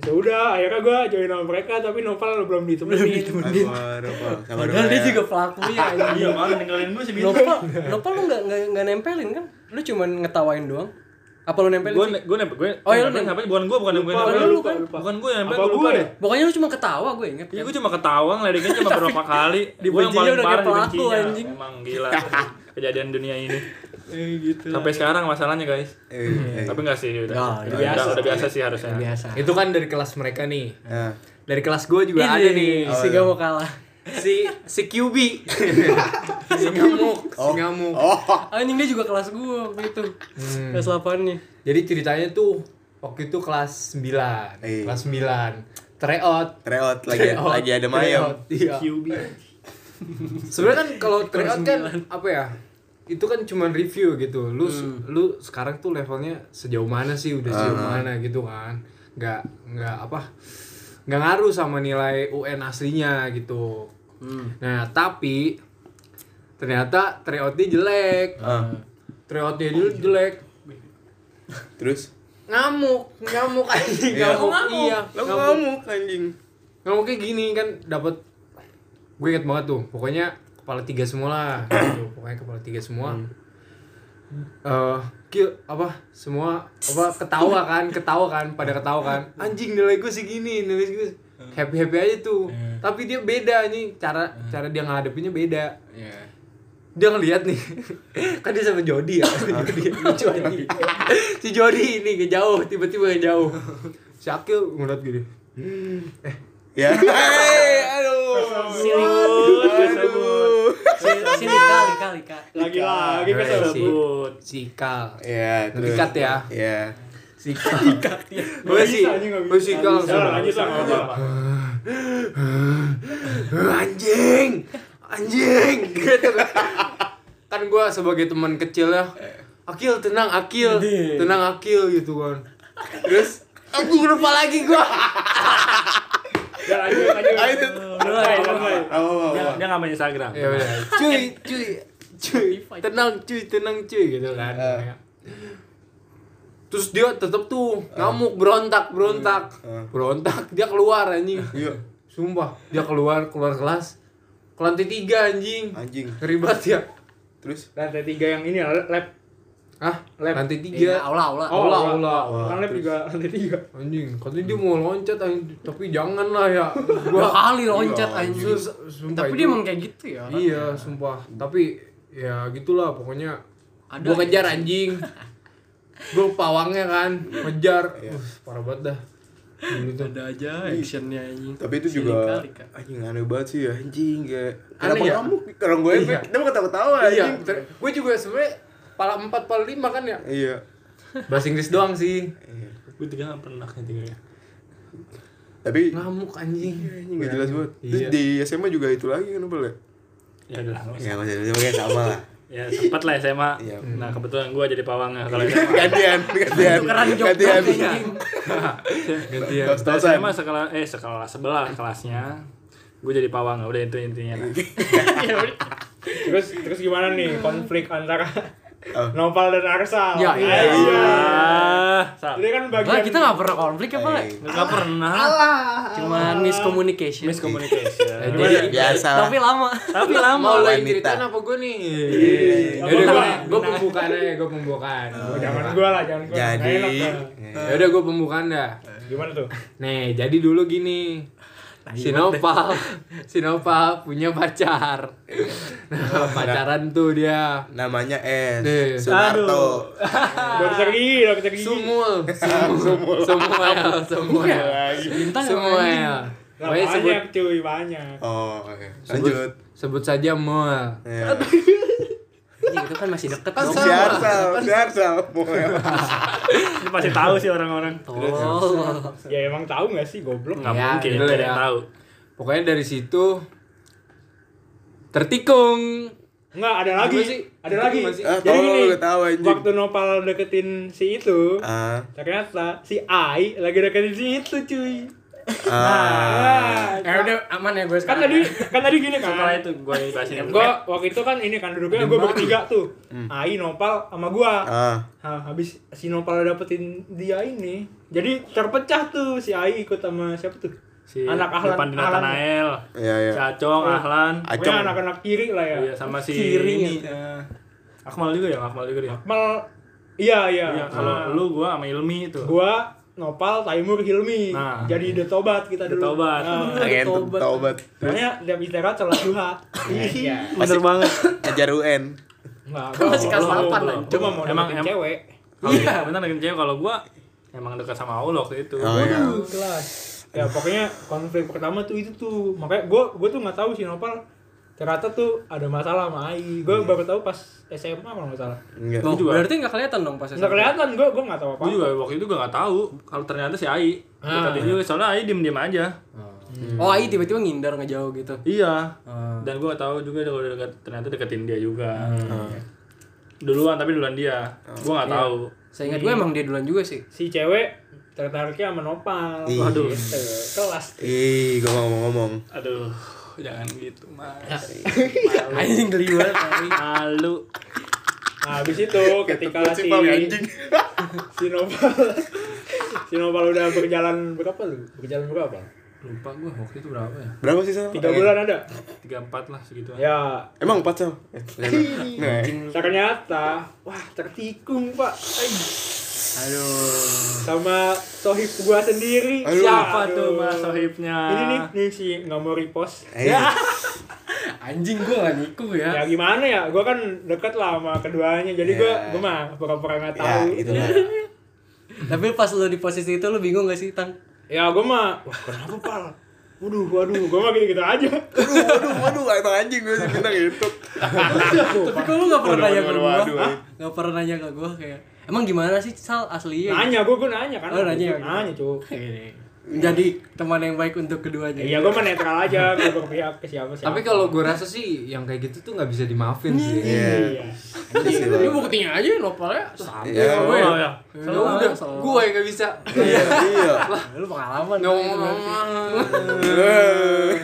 Speaker 1: Ya udah, akhirnya gue join sama mereka tapi Nopal belum ditemenin
Speaker 3: Sabar, Nopal. Sabar. ya.
Speaker 2: padahal dia
Speaker 3: Nopal.
Speaker 2: juga ya,
Speaker 1: *laughs*
Speaker 2: pelakunya
Speaker 1: gitu.
Speaker 4: iya parah tinggalin gua sih
Speaker 2: Nopal, Nopal lu nggak nggak nggak nempelin kan? Lu cuman ngetawain doang. Apa lu nempelin
Speaker 4: gue
Speaker 2: sih?
Speaker 4: gue nempel gue
Speaker 2: Oh, iya, lu
Speaker 4: nempel
Speaker 2: nempel.
Speaker 4: eh, ngapain bukan gue bukan yang gue
Speaker 1: Lupa,
Speaker 4: nempel
Speaker 1: lu
Speaker 4: bukan
Speaker 1: lupa, lupa.
Speaker 4: gue yang nempel
Speaker 1: Apa
Speaker 4: lupa
Speaker 1: gue?
Speaker 4: deh
Speaker 2: Pokoknya lu cuma ketawa gue inget.
Speaker 4: Iya
Speaker 2: kan?
Speaker 4: gue cuma ketawa ngeledekin cuma berapa kali Gue yang
Speaker 2: Dibencinya
Speaker 4: paling
Speaker 2: udah
Speaker 4: parah
Speaker 2: kayak pelaku,
Speaker 4: dibencinya
Speaker 2: anjing.
Speaker 4: Emang gila *laughs* kejadian dunia ini
Speaker 1: Eh, gitu.
Speaker 4: Sampai sekarang masalahnya guys
Speaker 3: Eh, eh.
Speaker 4: Tapi gak sih udah
Speaker 2: Ya, udah
Speaker 4: Udah biasa
Speaker 1: biasa.
Speaker 4: Udah biasa sih harusnya
Speaker 2: Biasa.
Speaker 5: Itu kan dari kelas mereka nih.
Speaker 3: Nah,
Speaker 5: Dari kelas gue juga
Speaker 2: Ini,
Speaker 5: ada nih.
Speaker 2: si gak Iya, mau kalah.
Speaker 5: si si QB *laughs* si ngamuk
Speaker 3: Oh.
Speaker 5: si ngamuk
Speaker 2: Anjing dia juga kelas gue waktu itu.
Speaker 1: Hmm.
Speaker 2: Kelas 8 nih.
Speaker 5: jadi ceritanya tuh waktu itu kelas 9
Speaker 3: Iya.
Speaker 5: kelas 9 tryout
Speaker 3: Treot lagi
Speaker 5: Tryout.
Speaker 3: lagi ada mayam.
Speaker 5: Tryout, iya. sebenarnya kan kalau tryout kan apa ya itu kan cuman review gitu lu lu sekarang tuh levelnya sejauh mana sih udah sejauh
Speaker 3: Uh-huh.
Speaker 5: mana gitu kan nggak nggak apa nggak ngaruh sama nilai UN aslinya gitu nah tapi ternyata tryoutnya jelek
Speaker 3: Ah,
Speaker 5: tryoutnya dulu jelek
Speaker 3: terus
Speaker 5: ngamuk ngamuk anjing
Speaker 3: Iya.
Speaker 5: ngamuk iya
Speaker 3: lo
Speaker 5: ngamuk
Speaker 3: ngamuk anjing.
Speaker 5: ngamuknya gini kan dapat gue inget banget tuh pokoknya kepala tiga semua lah gitu. pokoknya kepala tiga semua eh Gil, apa semua apa ketawa kan ketawa kan pada ketawa kan anjing nilai gue segini nilai gue happy happy aja tuh tapi dia beda nih cara cara dia ngadepinnya beda dia ngeliat nih *laughs* kan dia sama *laughs* Jody ya Jody lucu anjing. si Jody ini ngejauh tiba-tiba ngejauh si Akil ngeliat gini
Speaker 3: *laughs* Ya. Hei, aduh.
Speaker 1: Kesebut, kesebut.
Speaker 2: Sini, sini kali kali kak.
Speaker 1: Iya. Lagi-lagi kesebut.
Speaker 4: Sebut.
Speaker 5: si Ikal
Speaker 3: Ya, terus.
Speaker 5: Dikat ya.
Speaker 3: Ya.
Speaker 5: si Ikal gue
Speaker 1: Nggak
Speaker 5: sih
Speaker 1: bisa, anjing, nggak
Speaker 5: gue si
Speaker 1: bisa.
Speaker 5: Ikal
Speaker 1: Udah,
Speaker 5: langsung
Speaker 1: lanjut lah, nggak apa-apa.
Speaker 5: *laughs* anjing anjing gitu *laughs* kan gue sebagai teman kecil ya Akil tenang Akil tenang Akil gitu kan terus aku lupa lagi gue
Speaker 1: Udah, lanjut, lanjut. Mulai, mulai.
Speaker 3: Oh,
Speaker 4: Dia dia nggak main Instagram.
Speaker 5: ya udah cuy cuy cuy tenang cuy tenang cuy gitu kan terus dia tetep tuh ngamuk berontak berontak
Speaker 3: Eh.
Speaker 5: berontak dia keluar anjing
Speaker 3: Yuk,
Speaker 5: sumpah dia keluar keluar kelas ke lantai tiga anjing
Speaker 3: anjing.
Speaker 5: ngeri banget ya
Speaker 3: Terus
Speaker 1: Lantai tiga yang ini lah, lab.
Speaker 5: Hah?
Speaker 1: Lab.
Speaker 5: Lantai
Speaker 2: Iya,
Speaker 5: tiga?
Speaker 2: aula aula.
Speaker 1: Oh,
Speaker 5: ya? Aula,
Speaker 1: aula.
Speaker 5: aula.
Speaker 1: Kan lab juga lantai tiga.
Speaker 5: Anjing, katanya dia mau loncat anjing, tapi jangan lah
Speaker 2: *laughs*
Speaker 5: ya.
Speaker 2: Dua
Speaker 5: Gua
Speaker 2: kali loncat
Speaker 3: Iya,
Speaker 2: anjing.
Speaker 5: Sus- sumpah
Speaker 2: Tapi
Speaker 5: itu-
Speaker 2: dia emang kayak gitu ya. orangnya.
Speaker 5: Iya, sumpah. Tapi ya gitulah pokoknya.
Speaker 2: Ada
Speaker 5: gua
Speaker 2: aja
Speaker 5: kejar
Speaker 2: sih. *laughs*
Speaker 5: anjing. gua pawangnya kan, ngejar. Uh, parah banget dah. Gitu.
Speaker 2: Ada aja actionnya anjing.
Speaker 3: tapi itu
Speaker 2: Sini
Speaker 3: juga
Speaker 2: kali, Kak.
Speaker 3: anjing aneh banget sih ya, anjing kayak
Speaker 5: Aneh
Speaker 3: kenapa
Speaker 5: ya?
Speaker 3: ngamuk orang gue
Speaker 5: Iya.
Speaker 3: kenapa ketawa-tawa
Speaker 5: Iya,
Speaker 3: anjing
Speaker 5: ter- gua juga sebenarnya pala 4 pala 5 kan ya.
Speaker 3: iya
Speaker 5: Bahasa Inggris doang sih.
Speaker 4: Gue tiga nggak pernah kayak tiga.
Speaker 3: tapi
Speaker 5: Ngamuk anjing. Iya.
Speaker 3: anjing gak jelas banget terus di SMA juga itu lagi kenapa lah
Speaker 4: Ya udah. nggak usah.
Speaker 3: ya masih SMA kayak sama lah
Speaker 4: Ya sempat lah SMA.
Speaker 3: Iya.
Speaker 4: Nah kebetulan gue jadi *laughs* pawangnya kalau SMA.
Speaker 3: gantian gantian
Speaker 2: Tukeran jok
Speaker 3: gantian Iya,
Speaker 2: anjing.
Speaker 5: Gantian.
Speaker 4: Setelah
Speaker 3: tos-tosan
Speaker 4: SMA sekolah eh sekolah sebelah kelasnya gue jadi pawang udah itu intinya lah.
Speaker 1: Terus terus gimana nih konflik antara *laughs*
Speaker 3: Oh.
Speaker 1: Nopal dan Arsal?
Speaker 2: Ya, iya.
Speaker 4: Nah, Ah, Sal.
Speaker 1: Jadi kan
Speaker 2: Lah
Speaker 1: bagian
Speaker 2: kita nggak pernah konflik ya Pak?
Speaker 3: Eh.
Speaker 4: nggak pernah.
Speaker 2: Cuma miscommunication.
Speaker 4: Miscommunication.
Speaker 3: Iya, biasa lah
Speaker 2: Tapi lama.
Speaker 4: Tapi lama.
Speaker 5: Mau lo yang
Speaker 3: Wanita.
Speaker 5: ceritain apa gua nih?
Speaker 1: Iya.
Speaker 5: Yaudah, gua gua pembukaan aja, gua pembukaan.
Speaker 1: Oh, jangan gua lah, jangan gua. Nggak
Speaker 3: jadi ya.
Speaker 1: enak dah.
Speaker 5: Yaudah gua pembukaan dah.
Speaker 1: Gimana tuh?
Speaker 5: Nih, jadi dulu gini. Sinopal, *laughs* Sinopal punya pacar. Nah, *laughs* pacaran tuh dia.
Speaker 3: namanya
Speaker 5: Nih.
Speaker 3: S Sunarto
Speaker 1: Udah bisa gigi, udah bisa gigi.
Speaker 5: Sumul, Sumul, Sumuel,
Speaker 1: Iya.
Speaker 5: Sumuel, Sumuel.
Speaker 1: Lah,
Speaker 5: Pokoknya sebut,
Speaker 1: banyak cuy, banyak.
Speaker 3: oh oke
Speaker 5: sebut,
Speaker 3: lanjut
Speaker 5: sebut saja Mul.
Speaker 3: Iya.
Speaker 2: Anjing itu kan masih deket dong.
Speaker 3: si Arsal si Arsal Ah,
Speaker 4: Itu pasti tahu sih orang-orang.
Speaker 2: Oh.
Speaker 1: Ya emang tahu nggak sih goblok?
Speaker 4: Nggak
Speaker 5: Ya,
Speaker 4: mungkin
Speaker 5: gitu
Speaker 4: nggak ada
Speaker 5: ya.
Speaker 4: yang tahu.
Speaker 5: Pokoknya dari situ tertikung.
Speaker 1: Nggak, ada lagi.
Speaker 5: Apa sih?
Speaker 1: Ada
Speaker 5: Itu
Speaker 1: lagi.
Speaker 5: gimana sih?
Speaker 3: ah
Speaker 1: Jadi
Speaker 3: tolong
Speaker 1: gini,
Speaker 3: lu ketawa anjing
Speaker 1: waktu Nopal deketin si itu,
Speaker 3: ah
Speaker 1: ternyata si Ai lagi deketin si itu cuy.
Speaker 3: ah
Speaker 1: Ah,
Speaker 2: Eh udah aman ya gue
Speaker 1: kan
Speaker 2: sekarang.
Speaker 1: tadi kan tadi gini kan.
Speaker 4: Setelah itu gue yang jelasin.
Speaker 1: Gue waktu itu kan ini kan duduknya gue bertiga tuh. Ai, Nopal, sama gua.
Speaker 3: Hmm. ah
Speaker 1: Nah, habis si Nopal dapetin dia ini, jadi terpecah tuh si Ai ikut sama siapa tuh?
Speaker 4: Si
Speaker 1: anak Ahlan.
Speaker 4: Pandina
Speaker 1: Ahlan.
Speaker 4: Tanael,
Speaker 3: ya ya
Speaker 4: si Acong, Ahlan,
Speaker 1: Pokoknya
Speaker 3: Acong
Speaker 1: anak-anak kiri lah ya.
Speaker 4: iya sama si
Speaker 2: Kiri gitu.
Speaker 4: ini. eh, Akmal juga ya, Akmal juga ya.
Speaker 1: Mal iya iya.
Speaker 4: Iya,
Speaker 1: Nah,
Speaker 4: kalau lu gua sama Ilmi itu.
Speaker 1: gua Nopal, Taimur, Hilmi.
Speaker 4: Nah.
Speaker 1: Jadi The Tobat kita
Speaker 4: The
Speaker 1: dulu.
Speaker 4: Tobat.
Speaker 1: Nah,
Speaker 3: pengen
Speaker 2: Tobat.
Speaker 3: taubat
Speaker 1: Soalnya tiap istirahat sholat duha. Iya.
Speaker 4: Bener banget.
Speaker 3: ajar UN
Speaker 1: Enggak.
Speaker 2: Kan masih kelas
Speaker 1: kalau-
Speaker 2: delapan,
Speaker 1: kalau-
Speaker 2: anjing.
Speaker 1: Cuma mau
Speaker 4: Emang-
Speaker 1: emang
Speaker 4: em-
Speaker 1: cewek.
Speaker 4: Iya, bener kan cewek kalau gua emang dekat sama Allah waktu itu.
Speaker 3: oh
Speaker 2: Iya.
Speaker 3: ya
Speaker 1: Kelas. Ya pokoknya konflik pertama tuh itu tuh. Makanya gua gua tuh nggak tahu si Nopal ternyata tuh ada masalah sama Ai.
Speaker 4: Iya.
Speaker 1: Gua baru tahu pas SMA kalau nggak salah.
Speaker 3: enggak
Speaker 2: Loh,
Speaker 4: juga.
Speaker 2: berarti nggak kelihatan dong pas
Speaker 1: Nggak kelihatan gua gua nggak tahu apa.
Speaker 4: Gue juga waktu itu gak tahu kalau ternyata si Ai.
Speaker 1: Ah.
Speaker 4: Tadi juga soalnya Ai diem-diem aja.
Speaker 2: Oh, Ai tiba-tiba ngindar ngejauh gitu.
Speaker 4: Iya. Dan gue gak tahu juga kalau dia deket, ternyata deketin dia juga.
Speaker 3: Ah.
Speaker 4: Duluan tapi duluan dia. Gue gak tahu.
Speaker 2: Saya ingat gue emang dia duluan juga sih.
Speaker 1: Si cewek tertariknya sama Nopal.
Speaker 2: Iya.
Speaker 3: Ih.
Speaker 1: Waduh. Kelas.
Speaker 3: Ih, gue mau ngomong.
Speaker 4: Aduh, jangan gitu, Mas.
Speaker 2: Anjing geli banget. anjing.
Speaker 4: Malu.
Speaker 1: Nah, habis itu ketika si
Speaker 3: ya,
Speaker 1: *laughs* si *laughs* Nopal si Nopal udah berjalan berapa lu? Berjalan berapa?
Speaker 4: Lupa gue waktu itu berapa ya?
Speaker 3: Berapa sih Sal? Eh,
Speaker 1: Tiga bulan ada.
Speaker 4: 34 lah segitu. aja.
Speaker 1: Ya,
Speaker 3: Emang empat Sal? Eh, ternyata. Nah,
Speaker 1: ternyata wah tertikung pak. Ay.
Speaker 2: Aduh.
Speaker 1: sama sohib gua sendiri
Speaker 3: Aduh.
Speaker 4: Siapa
Speaker 1: Aduh.
Speaker 4: tuh mas sohibnya?
Speaker 1: ini nih nih si nggak mau repost
Speaker 3: Eh,
Speaker 2: *laughs* Anjing gua gak niku
Speaker 1: ya
Speaker 2: ya.
Speaker 1: gimana ya gua kan deket lah sama keduanya jadi gua
Speaker 3: Ya.
Speaker 1: gua mah pura-pura nggak
Speaker 3: ya
Speaker 1: tahu
Speaker 3: gitu lah.
Speaker 2: Tapi pas lu di posisi itu lu bingung gak sih, Tang?
Speaker 1: ya gua mah wah kenapa pal waduh waduh gua mah gitu gitu aja
Speaker 3: Waduh, waduh, waduh, emang anjing gue sih bintang itu.
Speaker 2: Tapi kok lu gak pernah nanya ke
Speaker 3: waduh,
Speaker 2: gua?
Speaker 3: waduh.
Speaker 2: *laughs* Hah? Gak pernah nanya ke gua kayak Emang gimana sih Sal ya?" aslinya?
Speaker 1: nanya gua gua nanya kan
Speaker 2: Iya. Oh, nanya.
Speaker 1: nanya cuy
Speaker 2: Jadi teman yang baik untuk keduanya.
Speaker 1: Iya, gua mah netral aja, gak berpihak ke siapa siapa.
Speaker 6: Tapi kalau gue rasa sih yang kayak gitu tuh nggak bisa dimaafin sih.
Speaker 3: Iya. Iya.
Speaker 2: Ini buktinya aja nopalnya
Speaker 3: Iya.
Speaker 2: sama gue.
Speaker 4: Oh, ya.
Speaker 2: Ya
Speaker 6: Ya udah,
Speaker 2: sama.
Speaker 6: gue yang nggak bisa.
Speaker 3: Iya, iya.
Speaker 2: Lu pengalaman.
Speaker 6: No,
Speaker 2: Bang, itu berarti.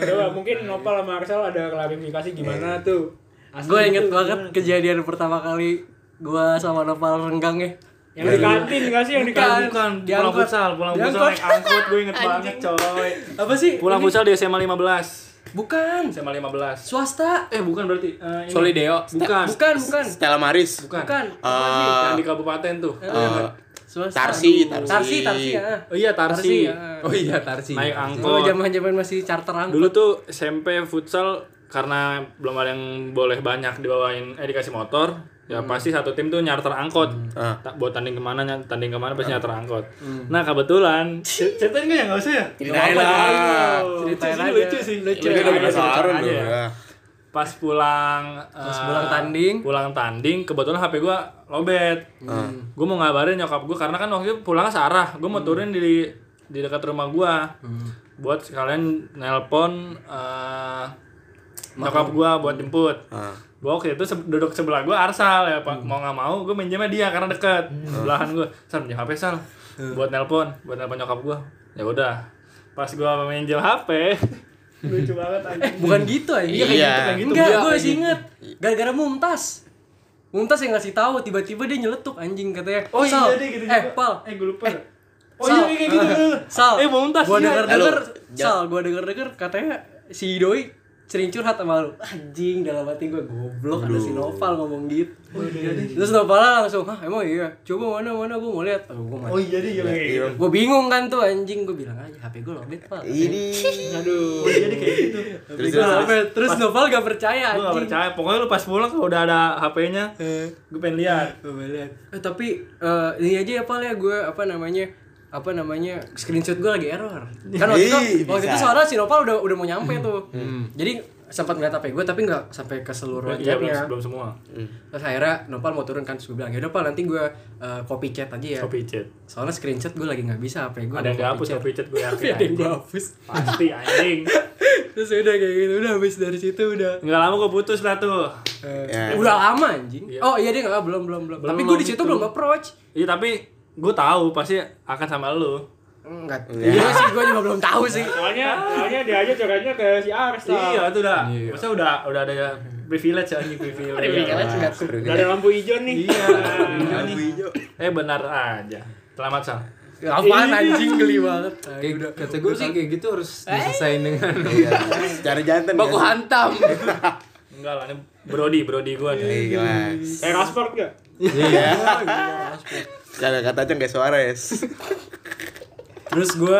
Speaker 1: Coba mungkin Nopal sama Arsel ada klarifikasi gimana tuh? Asli
Speaker 2: Gue inget
Speaker 1: tuh,
Speaker 2: banget
Speaker 1: gimana?
Speaker 2: kejadian pertama kali gue sama Nopal renggang ya.
Speaker 1: yang di kantin gak sih yang di
Speaker 2: Bukan.
Speaker 1: kantin?
Speaker 4: Bukan, Iya, pulang
Speaker 2: Diangkut.
Speaker 4: futsal, pulang futsal
Speaker 2: Diangkut.
Speaker 4: naik angkut, gue inget banget coy
Speaker 2: Apa sih?
Speaker 4: Pulang futsal di SMA 15
Speaker 2: Bukan.
Speaker 4: SMA 15
Speaker 2: Swasta.
Speaker 4: Eh bukan berarti eh, ini.
Speaker 6: Solideo.
Speaker 4: Bukan,
Speaker 2: Bukan, bukan.
Speaker 3: Stella Maris.
Speaker 4: bukan
Speaker 2: Bukan.
Speaker 4: Yang
Speaker 3: Eh,
Speaker 4: di kabupaten tuh
Speaker 3: eh,
Speaker 2: Swasta.
Speaker 3: Tarsi,
Speaker 2: Aduh.
Speaker 3: Tarsi.
Speaker 2: Tarsi, Tarsi ya.
Speaker 4: Oh iya Tarsi
Speaker 2: ya.
Speaker 6: Oh iya, Tarsi.
Speaker 4: Naik
Speaker 2: Oh,
Speaker 4: angkot
Speaker 2: zaman-zaman masih charter angkot.
Speaker 4: Dulu tuh SMP futsal karena belum ada yang boleh banyak dibawain eh dikasih motor ya pasti satu tim tuh nyarter angkot
Speaker 3: Ah.
Speaker 4: Tak- buat tanding kemana ny- tanding kemana pasti nyarter angkot nah kebetulan ceritain nggak ya nggak usah ya
Speaker 3: Ceritain lah.
Speaker 1: Oh,
Speaker 2: Ceritain
Speaker 4: Lucu sih,
Speaker 2: aja.
Speaker 4: lucu sih.
Speaker 3: Ini udah
Speaker 4: Ceritain
Speaker 3: penasaran
Speaker 4: aja
Speaker 3: loh.
Speaker 4: ya.
Speaker 3: Ah.
Speaker 4: pas pulang pas
Speaker 2: pulang tanding.
Speaker 4: pulang tanding kebetulan HP gua lobet gue mau ngabarin nyokap gue karena kan waktu itu pulangnya searah gue mau turun di di dekat rumah gua buat sekalian nelpon eh, nyokap gua buat jemput
Speaker 3: Ah.
Speaker 4: gue waktu itu se- duduk sebelah gue Arsal ya pak mau nggak mau gue minjemnya dia karena deket sebelahan gue sal minjem HP sal buat nelpon buat nelpon nyokap gue ya udah pas gue minjem HP lucu banget anjing
Speaker 2: Bukan gitu aja.
Speaker 3: Iya, kayak gitu, kayak
Speaker 4: gitu.
Speaker 2: Enggak,
Speaker 4: Iya,
Speaker 2: gue
Speaker 4: Hmm. kayak
Speaker 2: sih inget. Gara-gara Mumtaz. Mumtaz yang ngasih tahu tiba-tiba dia nyeletuk anjing katanya.
Speaker 4: oh
Speaker 2: "Sal,
Speaker 4: iya deh gitu
Speaker 2: Eh,
Speaker 4: juga.
Speaker 2: Pal.
Speaker 4: eh gue lupa oh
Speaker 2: Sal.
Speaker 4: iya kayak gitu bener.
Speaker 2: Sal.
Speaker 4: eh Mumtaz
Speaker 2: Gua
Speaker 4: iya.
Speaker 2: denger-denger,
Speaker 3: Halo, ja-
Speaker 2: Sal, gua denger-denger katanya si Doi sering curhat sama lu. Anjing, dalam hati gua goblok ada si Noval ngomong gitu.
Speaker 4: Oh, iya,
Speaker 2: Terus Noval langsung, "Hah, emang iya. Coba mana mana gua mau lihat." Oh, gua mati.
Speaker 4: iya deh iya kayak gitu.
Speaker 2: Gua bingung kan tuh anjing, gua bilang aja HP gua lobet, Pal.
Speaker 4: Iya,
Speaker 3: Ini.
Speaker 1: Aduh.
Speaker 4: oh iya deh kayak gitu
Speaker 2: Terus, terus, Nah, terus Noval gak percaya
Speaker 4: gue gak
Speaker 2: anjing.
Speaker 4: percaya pokoknya lu pas pulang kalau udah ada HP-nya gue pengen lihat
Speaker 2: Eh tapi eh, ini aja ya Pal ya gue apa namanya apa namanya screenshot gue lagi error kan waktu itu
Speaker 3: Ih,
Speaker 2: waktu
Speaker 3: bisa.
Speaker 2: itu soalnya si Nopal udah udah mau nyampe tuh jadi sempat ngeliat HP gue tapi nggak sampai ke seluruh
Speaker 4: Iya belum,
Speaker 2: chatnya
Speaker 4: belum semua
Speaker 2: terus akhirnya Nopal mau turun kan terus gue bilang ya udah Pal nanti gue eh, copy chat aja ya
Speaker 4: copy chat
Speaker 2: soalnya screenshot gue lagi nggak bisa HP gue
Speaker 4: ada yang gak hapus copy chat gue yakin
Speaker 2: ada yang
Speaker 4: anjing.
Speaker 2: gue hapus
Speaker 4: pasti anjing
Speaker 2: terus udah kayak gitu udah habis dari situ udah
Speaker 4: nggak lama gue putus lah tuh
Speaker 2: eh,
Speaker 3: Ya.
Speaker 2: udah lama anjing oh iya dia nggak belum belum belum,
Speaker 4: Belum,
Speaker 2: tapi gue di
Speaker 4: belum
Speaker 2: situ
Speaker 4: gitu.
Speaker 2: belum approach
Speaker 4: Iya tapi gue tahu pasti akan sama lu.
Speaker 2: Enggak, iya sih gue juga belum tahu sih
Speaker 1: Soalnya, soalnya dia aja curhatnya ke si Arsel.
Speaker 4: Iya itu udah. Masa udah udah ada privilege ya anjing privilege.
Speaker 2: Enggak.
Speaker 1: Udah ada lampu hijau nih.
Speaker 4: Iya.
Speaker 3: Lampu hijau.
Speaker 4: eh benar aja. Selamat sal.
Speaker 2: Apaan anjing geli banget.
Speaker 6: Kayak kata gue sih kayak gitu harus diselesain dengan
Speaker 5: *laughs*
Speaker 3: Iya. Secara jantan.
Speaker 6: baku
Speaker 3: kan?
Speaker 6: hantam.
Speaker 4: Enggak lah ini Brody Brody gue nih.
Speaker 3: Iya, Kelas.
Speaker 1: Kayak rasport gak?
Speaker 3: Iya. Kata kata aja kayak Suarez.
Speaker 2: Terus gue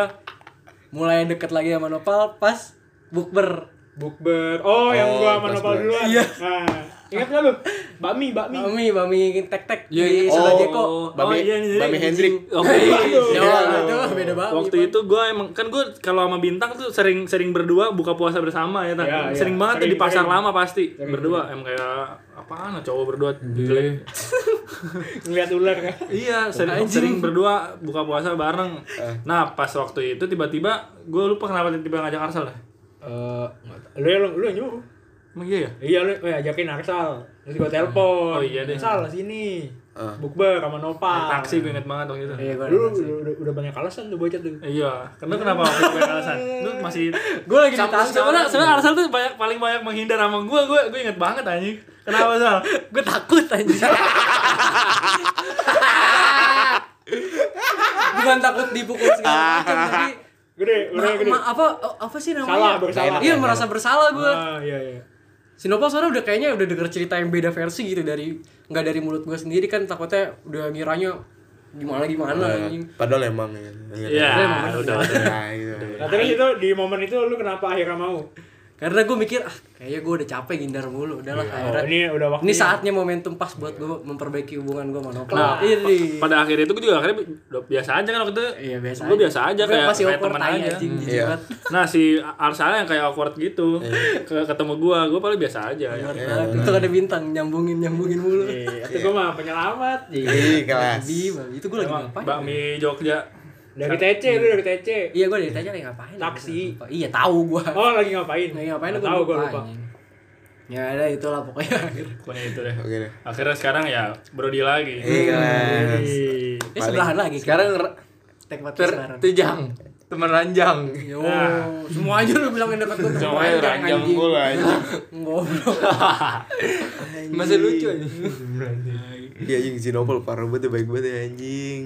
Speaker 2: mulai deket lagi sama Nopal pas bukber.
Speaker 1: Bukber. Oh, yang
Speaker 3: Oh,
Speaker 1: gua sama
Speaker 3: pas
Speaker 1: Nopal
Speaker 3: gua.
Speaker 1: duluan. Iya. Nah, ingat gak lu? Bakmi, bakmi.
Speaker 2: Mami, mami tek-tek di
Speaker 3: Oh,
Speaker 2: Sulajeko.
Speaker 4: Oh,
Speaker 3: Bami,
Speaker 4: iya, ini jadi
Speaker 3: Bami
Speaker 4: anjing.
Speaker 3: Hendrik.
Speaker 4: Oke.
Speaker 2: Ya,
Speaker 4: Iya.
Speaker 2: itu beda banget.
Speaker 4: Waktu itu gue emang kan gue kalau sama bintang tuh sering sering berdua buka puasa bersama ya Tan.
Speaker 1: Iya, iya.
Speaker 4: sering banget tuh
Speaker 1: Sering,
Speaker 4: di pasar
Speaker 1: sering.
Speaker 4: lama pasti berdua em kayak apaan lah cowok berdua jelek.
Speaker 1: Ngeliat ular kan.
Speaker 4: Iya, sering, sering berdua buka puasa bareng.
Speaker 1: Eh.
Speaker 4: Nah, pas waktu itu tiba-tiba gue lupa kenapa tiba-tiba ngajak Arsal dah.
Speaker 1: Eh, lu ya lu, lu yang nyuruh.
Speaker 4: Emang iya ya?
Speaker 1: Iya lu eh, ajakin Arsal. Terus gua telepon.
Speaker 4: Oh, iya deh.
Speaker 1: Sal sini.
Speaker 3: Ah.
Speaker 1: Bukber sama Nopal.
Speaker 4: Taksi gue inget banget waktu itu.
Speaker 2: Iya,
Speaker 1: Lu udah, udah banyak alasan tuh bocah tuh.
Speaker 4: Iya, karena kenapa waktu itu banyak alasan? Lu
Speaker 1: *laughs*
Speaker 4: masih
Speaker 2: gue lagi di Iya.
Speaker 4: Sama-
Speaker 2: taksi.
Speaker 4: sebenarnya sebenarnya Arsal tuh banyak paling banyak menghindar sama gue. Gue gue inget banget anjing. Kenapa Sal?
Speaker 2: Gue takut anjing. Bukan takut dipukul segala macam, tapi
Speaker 4: Nah.
Speaker 1: Gede,
Speaker 2: Ma-
Speaker 1: udah gede.
Speaker 2: ma- apa apa sih namanya?
Speaker 1: Salah, bersalah.
Speaker 2: Iya, merasa bersalah gue.
Speaker 1: Ah, iya iya.
Speaker 2: Sinopal soalnya udah kayaknya udah denger cerita yang beda versi gitu dari nggak dari mulut gue sendiri kan takutnya udah ngiranya gimana gimana
Speaker 3: Iya.
Speaker 2: anjing
Speaker 3: Nah, Padahal emang ya.
Speaker 1: Iya,
Speaker 4: Ya,
Speaker 1: kan.
Speaker 4: udah, udah.
Speaker 3: Nah, gitu.
Speaker 1: Nah, terus itu di momen itu lu kenapa akhirnya mau?
Speaker 2: karena gue mikir ah kayaknya gue udah capek gindar mulu udahlah
Speaker 1: Oh,
Speaker 2: akhirnya ini,
Speaker 1: ini udah waktu.
Speaker 2: saatnya momentum pas buat gue memperbaiki hubungan gue sama Nopal
Speaker 4: Nah,
Speaker 2: ini
Speaker 4: pada akhirnya itu gue juga akhirnya bi- udah biasa aja kan waktu itu.
Speaker 2: iya biasa
Speaker 4: Gue biasa aja
Speaker 2: Gua
Speaker 4: kayak
Speaker 2: pasti
Speaker 4: kayak
Speaker 2: over
Speaker 4: teman
Speaker 2: tai
Speaker 4: aja.
Speaker 2: anjing jijik
Speaker 3: Iya.
Speaker 2: banget
Speaker 4: Nah, si Arsala yang kayak awkward gitu.
Speaker 2: Iya.
Speaker 4: Ke- ketemu gua, gua paling biasa aja. Ya.
Speaker 2: Bener banget. itu ada bintang nyambungin nyambungin mulu
Speaker 1: Iya, itu gua mah penyelamat.
Speaker 3: Ih, kelas.
Speaker 2: Babi, babi. itu gue lagi ngapain
Speaker 4: Bakmi Jogja.
Speaker 1: Dari TC lu dari TC.
Speaker 2: iya gue dari tanya lagi ngapain
Speaker 1: Taksi.
Speaker 2: Lupa. iya tahu gue
Speaker 1: Oh, lagi ngapain?
Speaker 2: lagi ngapain
Speaker 1: Nggak
Speaker 2: gue
Speaker 1: tahu
Speaker 2: lupa,
Speaker 1: gua lupa.
Speaker 2: anjing. ya ada itulah pokoknya
Speaker 4: Pokoknya itu deh.
Speaker 3: Oke deh.
Speaker 4: Akhirnya sekarang ya Brody lagi.
Speaker 2: Iya.
Speaker 3: Ih, kelas.
Speaker 1: Ih.
Speaker 2: ini sebelahan lagi
Speaker 5: Sekarang r-
Speaker 2: tek mati
Speaker 5: ter
Speaker 2: sekarang
Speaker 5: tejang teman ranjang.
Speaker 2: Yo, semua aja lu bilangin dekat gue
Speaker 5: Semuanya ranjang mulu anjing.
Speaker 2: Ngobrol.
Speaker 5: Masih lucu anjing.
Speaker 3: Iya anjing Zinopol parah banget ya, baik banget ya anjing.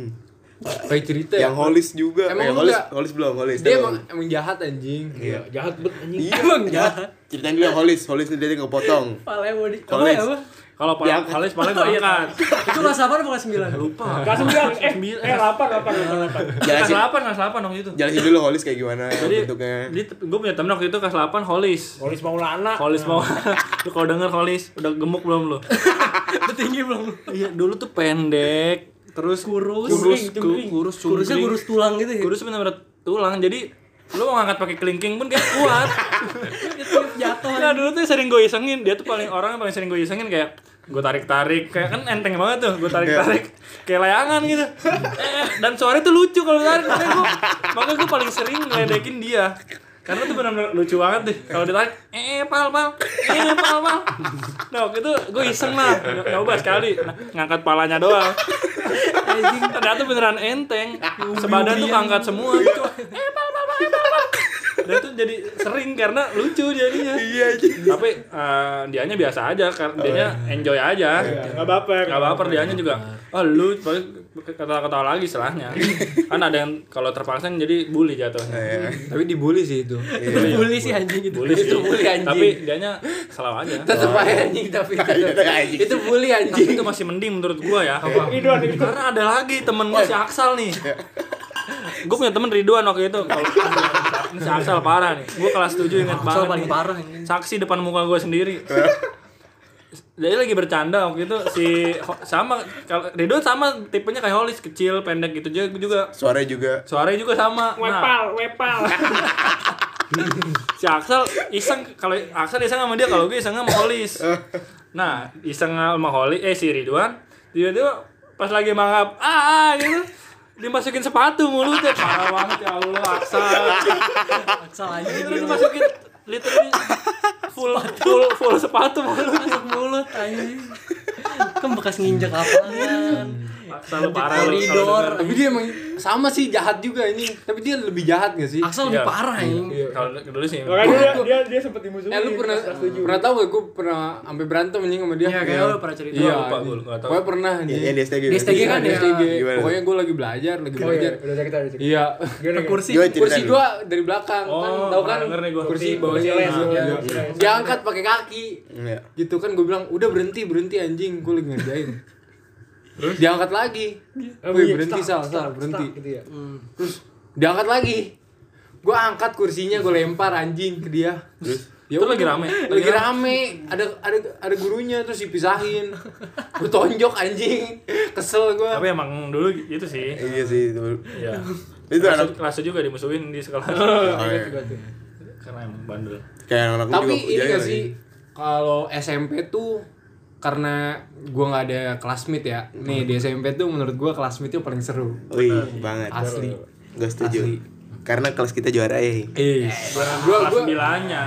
Speaker 5: Kayak cerita ya.
Speaker 3: Yang holis juga.
Speaker 5: Emang
Speaker 3: eh,
Speaker 5: lu
Speaker 3: holis,
Speaker 5: nggak-
Speaker 3: holis belum, holis.
Speaker 5: Dia
Speaker 3: belum.
Speaker 5: emang, emang jahat anjing.
Speaker 3: Iya.
Speaker 1: Jahat bet anjing.
Speaker 3: Iya, emang jahat. Ceritain dulu yang holis, holis dia yang kepotong.
Speaker 2: Palanya mau di apa
Speaker 3: Kolis.
Speaker 2: ya, apa?
Speaker 4: Kalau paling
Speaker 3: Diangkat.
Speaker 4: paling paling
Speaker 2: Iya.
Speaker 4: diangkat.
Speaker 2: Itu kelas 8 bukan 9? Lupa.
Speaker 1: Kelas 9 eh eh 8 8 8.
Speaker 2: Iya,
Speaker 4: Kelas
Speaker 3: Jelasin,
Speaker 4: 8, kelas 8 waktu itu.
Speaker 3: jelasin dulu holis kayak gimana
Speaker 4: Jadi,
Speaker 3: bentuknya.
Speaker 4: Jadi gue punya temen waktu itu kelas 8 Holis.
Speaker 1: Polis Maulana.
Speaker 4: Holis
Speaker 2: *laughs*
Speaker 4: mau lu kalau denger Holis udah gemuk belum lu?
Speaker 2: Tinggi belum.
Speaker 4: Iya, dulu tuh pendek, terus kurus,
Speaker 1: Cungkring,
Speaker 4: kurus, ku-
Speaker 1: cungkring.
Speaker 4: kurus,
Speaker 2: Kurusnya
Speaker 4: cungkring.
Speaker 2: kurus tulang gitu ya.
Speaker 4: kurus benar-benar tulang. Jadi lu mau ngangkat pakai kelingking pun kayak kuat.
Speaker 2: Jatuh.
Speaker 4: Nah dulu tuh sering gue isengin Dia tuh paling orang yang paling sering gue isengin kayak Gue tarik-tarik Kayak kan enteng banget tuh Gue tarik-tarik Kayak layangan gitu Eh, Dan suaranya tuh lucu kalau ditarik Makanya gue Makanya gue paling sering ngeledekin dia karena tuh benar-benar lucu banget deh kalau ditarik eh pal pal eh pal pal nah waktu itu gue iseng lah ny- nyoba sekali Nah, ngangkat palanya doang ternyata beneran enteng sebadan tuh ngangkat semua Cuma, eh pal pal pal eh pal pal dan tuh jadi sering karena lucu jadinya
Speaker 3: Iya anjing.
Speaker 4: tapi eh, dianya biasa aja karena dianya enjoy aja
Speaker 1: Enggak baper.
Speaker 4: nggak baper dianya juga oh lu paling kata-kata lagi selahnya kan ada yang kalau terpaksa jadi bully jatuhnya
Speaker 3: Iya.
Speaker 5: Tapi dibully sih itu.
Speaker 2: Bully sih anjing gitu.
Speaker 4: bully sih
Speaker 5: Itu bully, anjing.
Speaker 4: tapi dianya salah aja
Speaker 5: Tetep aja anjing tapi tetep. itu bully
Speaker 4: tapi
Speaker 5: anjing.
Speaker 4: itu masih mending menurut gua ya
Speaker 1: Ridwan itu.
Speaker 4: karena ada lagi temen gua si Aksal nih gue punya temen Ridwan waktu itu kalau *laughs* Ini si Aksal parah nih gue kelas 7 inget
Speaker 2: Soal
Speaker 4: banget
Speaker 2: paling
Speaker 4: nih.
Speaker 2: parah anjing.
Speaker 4: saksi depan muka gue sendiri jadi lagi bercanda waktu itu si Ho- sama kalau Ridho sama tipenya kayak Holis kecil pendek gitu juga juga
Speaker 3: Suaranya juga.
Speaker 4: suaranya juga sama nah
Speaker 1: Wepal, wepal.
Speaker 4: si Axel iseng kalau Axel iseng sama dia kalau gue iseng sama Holis nah iseng sama Holis eh si Ridwan tiba-tiba pas lagi mangap ah, ah gitu dimasukin sepatu mulutnya parah banget ya Allah Axel
Speaker 2: Aksal anjing.
Speaker 4: literally dimasukin literally full full full sepatu mulutnya
Speaker 2: Masuk mulut anjing. Kan bekas nginjek apaan.
Speaker 4: Axel parah lu kalau
Speaker 2: Koridor.
Speaker 4: denger.
Speaker 5: Tapi dia emang sama sih jahat juga anjing. Tapi dia lebih jahat gak sih?
Speaker 2: Aksal lebih
Speaker 4: Iya.
Speaker 2: parah anjing.
Speaker 4: kalau dulu sih
Speaker 1: Makanya dia dia dia sempat dimusuhin.
Speaker 5: Eh
Speaker 4: Iya,
Speaker 5: lu pernah
Speaker 1: Iya,
Speaker 5: pernah tahu gak gue pernah sampai berantem anjing sama dia?
Speaker 2: Iya, kayaknya lu pernah cerita.
Speaker 5: Iya,
Speaker 4: Lupa gitu. gua,
Speaker 5: anjing.
Speaker 4: nggak tahu.
Speaker 5: Pokoknya pernah
Speaker 3: Ya,
Speaker 5: anjing. Iya
Speaker 3: ya, di STG.
Speaker 2: Di STG kan
Speaker 5: Ada
Speaker 2: ya.
Speaker 5: STG.
Speaker 3: Gimana?
Speaker 5: Pokoknya gue lagi belajar, lagi
Speaker 4: Iya,
Speaker 5: belajar.
Speaker 1: iya, udah cerita udah cerita.
Speaker 5: Iya.
Speaker 1: Gimana,
Speaker 2: Ke
Speaker 1: gimana?
Speaker 2: kursi.
Speaker 3: Gimana cerita
Speaker 5: Kursi
Speaker 3: lu?
Speaker 5: gua dari belakang kan
Speaker 4: Oh,
Speaker 5: tahu kan
Speaker 4: denger nih gua.
Speaker 5: kursi
Speaker 4: Kursi
Speaker 5: bawahnya
Speaker 1: les,
Speaker 5: nah,
Speaker 1: iya,
Speaker 5: iya.
Speaker 1: iya.
Speaker 5: diangkat pakai kaki
Speaker 3: Iya.
Speaker 5: gitu kan gue bilang udah berhenti berhenti anjing gue lagi ngerjain diangkat lagi
Speaker 4: Iya.
Speaker 1: bunyi,
Speaker 5: Wih, berhenti
Speaker 1: Iya, stuck,
Speaker 5: sal
Speaker 1: stuck,
Speaker 5: sal
Speaker 1: stuck gitu
Speaker 5: berhenti
Speaker 1: ya.
Speaker 5: terus diangkat lagi gue angkat kursinya gue lempar anjing ke dia terus ya
Speaker 4: Itu
Speaker 5: udah,
Speaker 4: lagi rame?
Speaker 5: lagi rame ada ada ada gurunya terus dipisahin gue tonjok anjing kesel gue
Speaker 4: tapi emang dulu gitu sih
Speaker 3: Iya sih itu.
Speaker 4: iya
Speaker 3: Itu
Speaker 4: Kelas-
Speaker 3: anak
Speaker 4: kelas juga dimusuhin di sekolah
Speaker 3: Oh, iya.
Speaker 4: karena emang bandel
Speaker 3: kayak anak lu
Speaker 5: tapi
Speaker 3: juga
Speaker 5: ini
Speaker 3: pujanya
Speaker 5: gak sih
Speaker 3: lagi.
Speaker 5: kalau SMP tuh karena gua nggak ada classmate ya nih di SMP tuh menurut gua classmate tuh paling seru
Speaker 3: Wih, banget.
Speaker 5: Asli.
Speaker 3: Gak setuju.
Speaker 5: Asli.
Speaker 3: Karena kelas kita juara ya.
Speaker 5: eh gua
Speaker 4: kelas
Speaker 5: gua
Speaker 4: sembilannya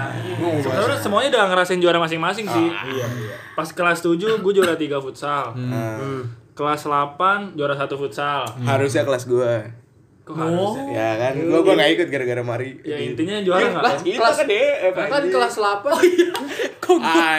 Speaker 4: sebenarnya semuanya udah ngerasain juara masing-masing sih
Speaker 1: Ah. Iya,
Speaker 4: pas kelas 7 gue juara 3 futsal
Speaker 3: Nah,
Speaker 4: kelas 8 juara 1 futsal
Speaker 3: harusnya kelas gua.
Speaker 4: Kok
Speaker 2: Oh.
Speaker 4: harusnya?
Speaker 3: Ya kan, gua gua gak ikut gara-gara Mari. Iya.
Speaker 4: ya intinya juara nggak
Speaker 5: lah
Speaker 4: kan?
Speaker 5: kelas
Speaker 1: kan DF,
Speaker 5: kan kelas 8
Speaker 4: Oh, iya.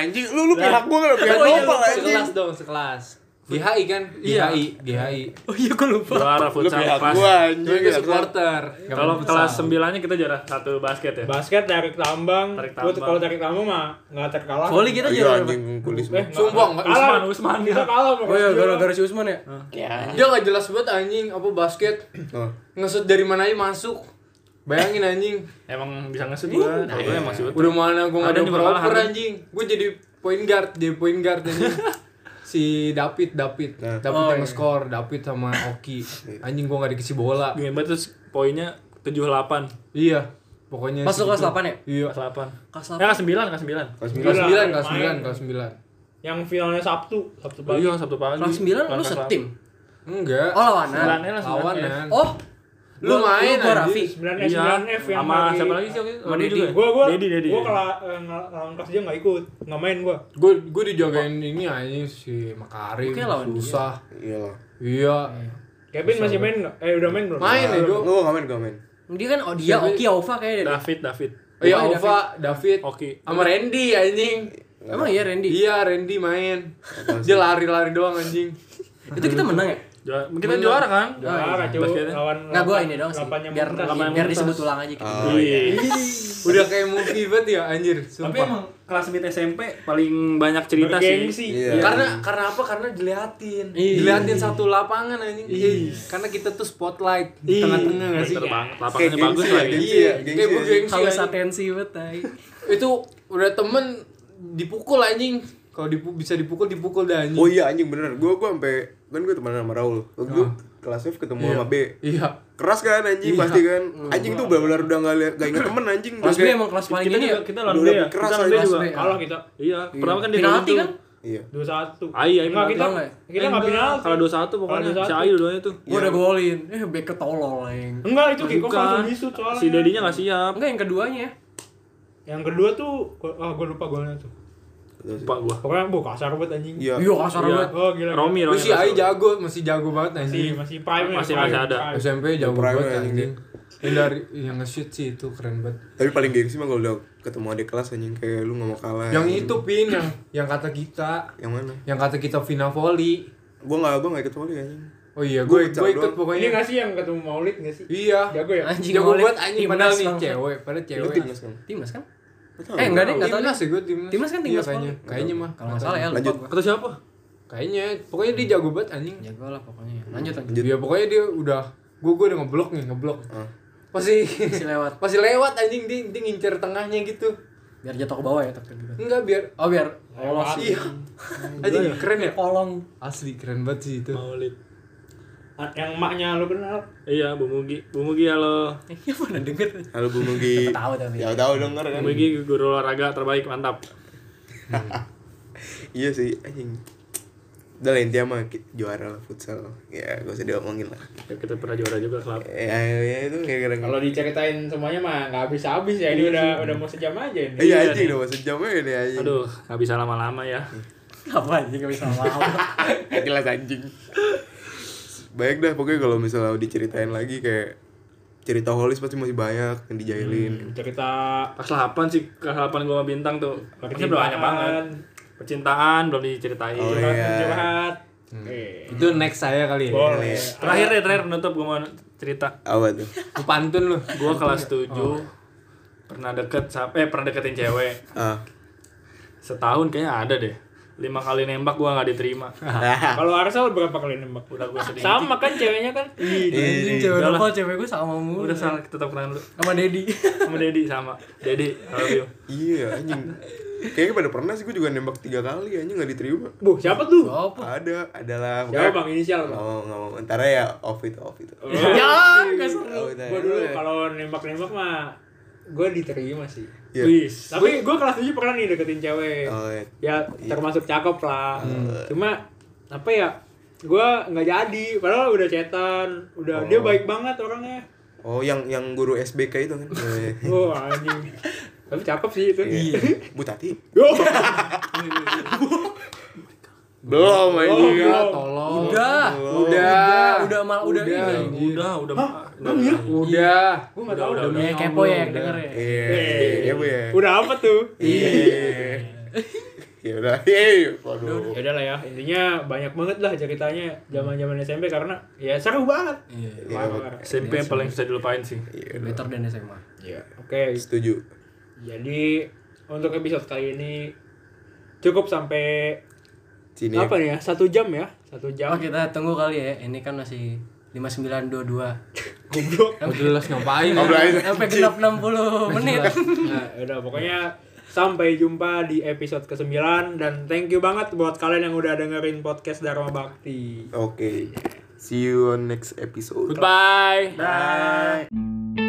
Speaker 3: Anjing, lu lu pihak gua kan pihak
Speaker 5: Oh iya,
Speaker 3: nopal
Speaker 5: lu
Speaker 3: anjing.
Speaker 5: sekelas dong sekelas Di HI kan? Di
Speaker 4: Iya. iya,
Speaker 5: HI, di HI.
Speaker 2: Oh iya gue lupa.
Speaker 3: Lu
Speaker 4: Juara futsal
Speaker 3: pihak
Speaker 4: pas.
Speaker 3: gua anjing.
Speaker 5: Sebagai
Speaker 3: pihak gua.
Speaker 5: supporter. Nggak
Speaker 4: Kalau
Speaker 5: futsal.
Speaker 4: kelas sembilannya kita juara satu basket ya.
Speaker 1: *laughs* Basket tarik tambang.
Speaker 4: Tarik
Speaker 1: Gua-
Speaker 4: tambang.
Speaker 1: Kalau tarik tambang mah nggak terkalah.
Speaker 2: Volley gitu. kita ya,
Speaker 3: Iya
Speaker 2: juara
Speaker 3: anjing
Speaker 2: berapa?
Speaker 3: kulis.
Speaker 1: Eh,
Speaker 5: Sumbong, nggak-
Speaker 1: Kalah.
Speaker 4: Usman, Usman.
Speaker 1: Kita kalah sama
Speaker 2: Oh iya
Speaker 1: Crossbiro.
Speaker 2: gara-gara si Usman ya.
Speaker 3: Ya.
Speaker 5: Dia nggak jelas banget anjing apa basket.
Speaker 3: Oh.
Speaker 5: Ngesut dari mana aja masuk. Bayangin anjing.
Speaker 4: Emang bisa ngesut gua. Kalau gua emang shoot.
Speaker 5: Udah mana gua
Speaker 4: Ada
Speaker 5: nggak ada
Speaker 4: nih malah,
Speaker 5: proper
Speaker 4: ada.
Speaker 5: anjing. Gua jadi point guard, jadi point guard anjing. si David, David,
Speaker 3: Nah.
Speaker 5: David yang nge-score, David sama Oki. Anjing gua nggak dikasih bola.
Speaker 4: Game terus poinnya 78.
Speaker 5: Iya, pokoknya.
Speaker 2: Pas lu kelas 8 ya?
Speaker 5: Iya.
Speaker 4: Kelas 8.
Speaker 2: Kelas
Speaker 4: Ya kelas 9, kelas 9.
Speaker 3: Kelas
Speaker 1: Gila,
Speaker 5: Kelas 9, kelas
Speaker 1: main.
Speaker 5: 9, kelas 9.
Speaker 1: Yang finalnya Sabtu, Sabtu
Speaker 4: Oh,
Speaker 1: pagi.
Speaker 4: iya, Sabtu pagi.
Speaker 2: Kelas 9 lu
Speaker 4: Kelas
Speaker 2: setim.
Speaker 5: Enggak.
Speaker 2: Oh lawanan.
Speaker 4: 9 lah
Speaker 5: Lawanan.
Speaker 2: Oh.
Speaker 5: Lu main,
Speaker 2: gua
Speaker 5: anjing.
Speaker 2: Raffi.
Speaker 1: 9 S
Speaker 4: Iya,
Speaker 1: 9 F yang
Speaker 4: sama
Speaker 1: lagi-
Speaker 4: siapa lagi sih waktu itu?
Speaker 2: Sama
Speaker 4: Lu
Speaker 2: Dedi.
Speaker 4: juga ya?
Speaker 1: Gua gua
Speaker 4: Dedi, Dedi.
Speaker 1: gua kalau eh, ng- lawan kelas dia nggak ikut, nggak main gua.
Speaker 5: Gue gue dijagain ini anjing si Makarim
Speaker 2: Oke, lawan dia.
Speaker 5: susah.
Speaker 3: Iya lah.
Speaker 5: Iya.
Speaker 1: Kevin masih main nggak? Eh udah main belum?
Speaker 5: Main ya, Jo.
Speaker 3: Lu ngamen ngamen.
Speaker 2: Dia kan oh dia
Speaker 5: Siapa?
Speaker 2: Oki Ova kayaknya
Speaker 3: Nah.
Speaker 2: deh.
Speaker 4: David, David.
Speaker 5: Iya,
Speaker 2: David.
Speaker 5: Ova, David,
Speaker 4: Oki.
Speaker 5: sama Randy anjing.
Speaker 2: Emang iya Randy.
Speaker 5: Iya, Randy main. Dia lari-lari doang anjing.
Speaker 2: Itu kita menang ya?
Speaker 4: Juara- Kita juara kan?
Speaker 1: Juara, cu.
Speaker 4: Basketnya.
Speaker 1: Lawan
Speaker 2: Enggak gua ini doang sih.
Speaker 1: lapannya
Speaker 2: Biar
Speaker 1: Muntas.
Speaker 4: lapannya
Speaker 2: biar
Speaker 4: Muntas.
Speaker 2: disebut ulang aja kita.
Speaker 3: Oh iya.
Speaker 5: Udah kayak movie banget ya anjir,
Speaker 4: Tapi
Speaker 5: sumpah.
Speaker 4: emang kelas mid SMP paling banyak cerita sih.
Speaker 1: Bergengsi.
Speaker 3: Iya.
Speaker 5: karena karena apa? Karena diliatin.
Speaker 2: Iya.
Speaker 5: Diliatin satu lapangan anjing. Iya. Karena kita tuh spotlight di tengah-tengah nggak sih?
Speaker 4: Bener banget.
Speaker 3: Kayak
Speaker 4: Lapangannya bagus
Speaker 3: gengsi ya,
Speaker 4: lagi.
Speaker 3: gengsi ya, gengsi
Speaker 5: Kayak gue
Speaker 3: ya.
Speaker 5: Iya. gengsi.
Speaker 2: Haus
Speaker 5: anjing.
Speaker 2: atensi banget tai.
Speaker 5: Itu udah temen dipukul anjing. Kalau dipu- bisa dipukul dipukul dah anjing.
Speaker 3: Oh iya anjing bener. Gua gua sampai kan gua temenan sama Raul.
Speaker 2: Ah.
Speaker 3: Gua kelas F ketemu sama B.
Speaker 5: Iya.
Speaker 3: Keras kan anjing pasti kan. Anjing tuh benar-benar udah enggak lihat enggak inget temen anjing.
Speaker 2: Iya. Hmm. Kelas B
Speaker 3: Udah kayak-
Speaker 2: emang kelas paling
Speaker 4: Kita
Speaker 2: ini
Speaker 4: juga
Speaker 2: ya.
Speaker 4: kita lawan
Speaker 3: Udah
Speaker 4: dia.
Speaker 3: lebih
Speaker 4: Kita
Speaker 3: keras
Speaker 4: lawan
Speaker 3: lagi.
Speaker 4: dia juga.
Speaker 2: Kelas B.
Speaker 1: Kalah kita.
Speaker 4: Iya, pertama kan dia
Speaker 2: Penalti
Speaker 4: dulu
Speaker 2: kan?
Speaker 4: tuh.
Speaker 3: Iya.
Speaker 1: dua satu
Speaker 4: Ai, ai
Speaker 1: enggak kita
Speaker 2: Enggak.
Speaker 1: kita nggak penalti
Speaker 4: Kalau 21 pokoknya
Speaker 1: Kalau 21.
Speaker 4: si Ai dua-duanya tuh.
Speaker 2: Gua
Speaker 3: Iya.
Speaker 2: udah golin. Eh back ketolol yang.
Speaker 1: enggak itu kick off
Speaker 4: Bukan.
Speaker 1: langsung disut soalnya
Speaker 4: Si Dedinya nggak siap.
Speaker 2: Enggak yang keduanya. ya?
Speaker 1: yang kedua tuh gua- ah gua lupa golnya tuh
Speaker 4: Lupa gua.
Speaker 1: pokoknya bu kasar banget anjing
Speaker 3: Iya.
Speaker 2: Iya kasar
Speaker 4: Iya.
Speaker 2: banget.
Speaker 1: oh gila
Speaker 4: Romi,
Speaker 5: Lu
Speaker 4: Romi.
Speaker 5: si Ai
Speaker 4: masuk.
Speaker 5: jago, masih jago banget anjing.
Speaker 1: masih masih prime
Speaker 4: Masih-
Speaker 1: prime,
Speaker 4: masih ada.
Speaker 1: prime.
Speaker 5: SMP Iya, jago
Speaker 3: Prime ya,
Speaker 5: banget
Speaker 3: anjing.
Speaker 5: anjing. Yang dari yang nge-shoot sih itu keren banget.
Speaker 3: Tapi paling gengsi mah kalau udah ketemu adik kelas anjing kayak lu nggak mau kalah.
Speaker 5: Yang
Speaker 3: anjing.
Speaker 5: itu pin yang yang kata kita,
Speaker 3: Yang mana?
Speaker 5: yang kata kita final volley.
Speaker 3: Gua nggak gua nggak ikut volley anjing.
Speaker 5: Oh iya,
Speaker 3: Gua
Speaker 5: gue
Speaker 3: pecah
Speaker 5: gue ikut
Speaker 3: doang.
Speaker 1: ini
Speaker 5: pokoknya.
Speaker 1: nggak sih yang ketemu Maulid nggak sih
Speaker 5: Iya.
Speaker 1: jago ya
Speaker 3: Eh.
Speaker 2: Anjing
Speaker 5: Jago
Speaker 2: golin.
Speaker 5: buat anjing
Speaker 2: Timnas
Speaker 5: padahal nih
Speaker 2: langsung.
Speaker 5: cewek, padahal
Speaker 3: Lu
Speaker 5: cewek.
Speaker 3: timnas kan?
Speaker 2: Timnas kan?
Speaker 3: Nggak tahu.
Speaker 2: Eh enggak deh, enggak tahu.
Speaker 5: Timnas
Speaker 2: deh.
Speaker 5: ya gue timnas.
Speaker 2: Timnas kan
Speaker 5: Iya,
Speaker 2: timnas
Speaker 5: kayaknya.
Speaker 2: volley.
Speaker 5: Kayaknya mah.
Speaker 2: Kalau enggak salah ya lupa
Speaker 3: Lanjut.
Speaker 2: gua.
Speaker 4: Kata siapa?
Speaker 5: Kayaknya pokoknya dia jago banget anjing.
Speaker 2: Jago lah pokoknya. Lanjut lanjut.
Speaker 5: Dia Ya, pokoknya dia udah gue gue udah ngeblok nih, ngeblok.
Speaker 3: Ah.
Speaker 5: *laughs* Pasti
Speaker 2: Si lewat
Speaker 5: pasti lewat anjing dia, dia ngincer tengahnya gitu.
Speaker 2: biar jatuh ke bawah ya tapi juga.
Speaker 5: Enggak biar
Speaker 2: Oh biar
Speaker 1: Lewat.
Speaker 2: lolos.
Speaker 5: iya. Anjing keren ya. Oh.
Speaker 2: Kolong.
Speaker 5: Asli keren banget sih itu.
Speaker 4: Maulid.
Speaker 1: A- yang emaknya lu kenal
Speaker 4: Iya, Bu Mugi. Bu Mugi halo.
Speaker 2: Eh, Iya mana denger.
Speaker 3: Halo Bu
Speaker 2: *laughs*
Speaker 3: Mugi.
Speaker 2: Tahu tapi.
Speaker 3: Ya tahu denger kan.
Speaker 4: Bu Mugi guru olahraga terbaik, mantap.
Speaker 3: Iya sih anjing. Udah lah intinya mah ki- juara lah futsal. Ya gak usah diomongin lah.
Speaker 4: Ya, Kita pernah juara juga klub.
Speaker 3: Ya, ya itu gara-gara
Speaker 1: kalau diceritain semuanya mah nggak habis habis ya ini udah udah mau sejam aja ini
Speaker 3: Iya anjing udah masuk jam aja deh anjing.
Speaker 4: Aduh, nggak bisa lama-lama ya.
Speaker 2: Apa anjing enggak bisa *laughs* lama.
Speaker 3: Gak jelas anjing. Baik dah pokoknya kalau misalnya diceritain lagi kayak cerita holis pasti masih banyak yang dijailin.
Speaker 1: cerita
Speaker 4: Pas 8 sih, kelas 8 gua sama bintang tuh. Pasti udah banyak banget.
Speaker 1: percintaan
Speaker 4: Percintaan belum diceritain.
Speaker 3: Oh,
Speaker 1: curhat
Speaker 3: iya.
Speaker 1: curhat Eh,
Speaker 5: Itu next saya kali ya.
Speaker 1: boleh
Speaker 4: Terakhir deh, terakhir penutup gua mau cerita.
Speaker 3: Apa tuh?
Speaker 5: Lu pantun lu.
Speaker 4: Gua kelas 7
Speaker 3: Oh.
Speaker 4: pernah deket sa- eh pernah deketin cewek
Speaker 3: Ah.
Speaker 4: setahun kayaknya ada deh lima kali nembak gua nggak
Speaker 3: *laughs*
Speaker 4: diterima
Speaker 1: kalau Arsal berapa kali nembak
Speaker 4: udah gua sedih
Speaker 1: sama kan ceweknya kan
Speaker 2: Iya, Anjing cewek
Speaker 4: Udah lah.
Speaker 2: lokal cewek gue sama mulu.
Speaker 4: udah salah tetap kenangan lu
Speaker 2: Sama *laughs* Dedi.
Speaker 4: sama Dedi sama Dedi I love you.
Speaker 3: Iya anjing. Kayaknya pada pernah sih gue juga nembak tiga kali anjing nggak diterima.
Speaker 1: bu siapa tuh
Speaker 3: Oh.
Speaker 2: Apa?
Speaker 3: Ada, adalah.
Speaker 1: siapa bang inisial bang
Speaker 3: Oh, nggak mau. Ntar ya off itu off itu.
Speaker 2: Ya, enggak seru.
Speaker 3: Oh, udah,
Speaker 1: gue dulu
Speaker 3: udah.
Speaker 1: kalau nembak-nembak mah gue diterima sih
Speaker 3: Iya.
Speaker 4: Wis.
Speaker 1: tapi gue kelas 7 pernah nih deketin cewek
Speaker 3: Oh, iya. Oh.
Speaker 1: ya termasuk cakep lah cuma apa ya gue nggak jadi padahal udah cetan udah dia baik banget orangnya
Speaker 3: Oh, yang yang guru SBK itu kan. Oh, iya.
Speaker 1: *laughs* oh
Speaker 3: *laughs*
Speaker 1: anjing tapi cakep sih itu
Speaker 3: Iya. Bu Tati. *laughs*
Speaker 1: Yo.
Speaker 3: Belum anjing.
Speaker 5: Udah,
Speaker 1: Belum.
Speaker 5: Iya, tolong.
Speaker 2: Udah.
Speaker 5: Udah.
Speaker 2: Udah mal udah
Speaker 5: Udah. Iya.
Speaker 2: ini.
Speaker 4: udah udah udah
Speaker 5: Udah.
Speaker 1: gue nggak tahu
Speaker 4: udah,
Speaker 1: udah,
Speaker 2: Ya
Speaker 4: udah.
Speaker 2: Iya, kepo ya yang denger ya.
Speaker 3: Iya. Iya, Bu ya.
Speaker 1: udah apa tuh
Speaker 3: Iya. ya udah hey waduh
Speaker 1: ya udah lah ya intinya banyak banget lah ceritanya zaman zaman SMP karena ya seru banget
Speaker 3: Iya,
Speaker 1: Parah, parah.
Speaker 4: SMP yang paling susah dilupain sih
Speaker 2: Better than SMA.
Speaker 1: oke
Speaker 3: setuju
Speaker 1: jadi untuk episode kali ini cukup sampai
Speaker 3: sini
Speaker 1: apa nih ya satu jam ya satu jam
Speaker 2: Oh, kita tunggu kali ya. Ini kan masih 5922.
Speaker 1: goblok
Speaker 6: Mau jelas ngapain? ya?
Speaker 2: Sampai genap 60 menit. *laughs*
Speaker 1: nah, udah pokoknya sampai jumpa di episode ke-9 dan thank you banget buat kalian yang udah dengerin podcast Dharma Bakti
Speaker 3: oke see you on next episode
Speaker 6: Goodbye.
Speaker 3: bye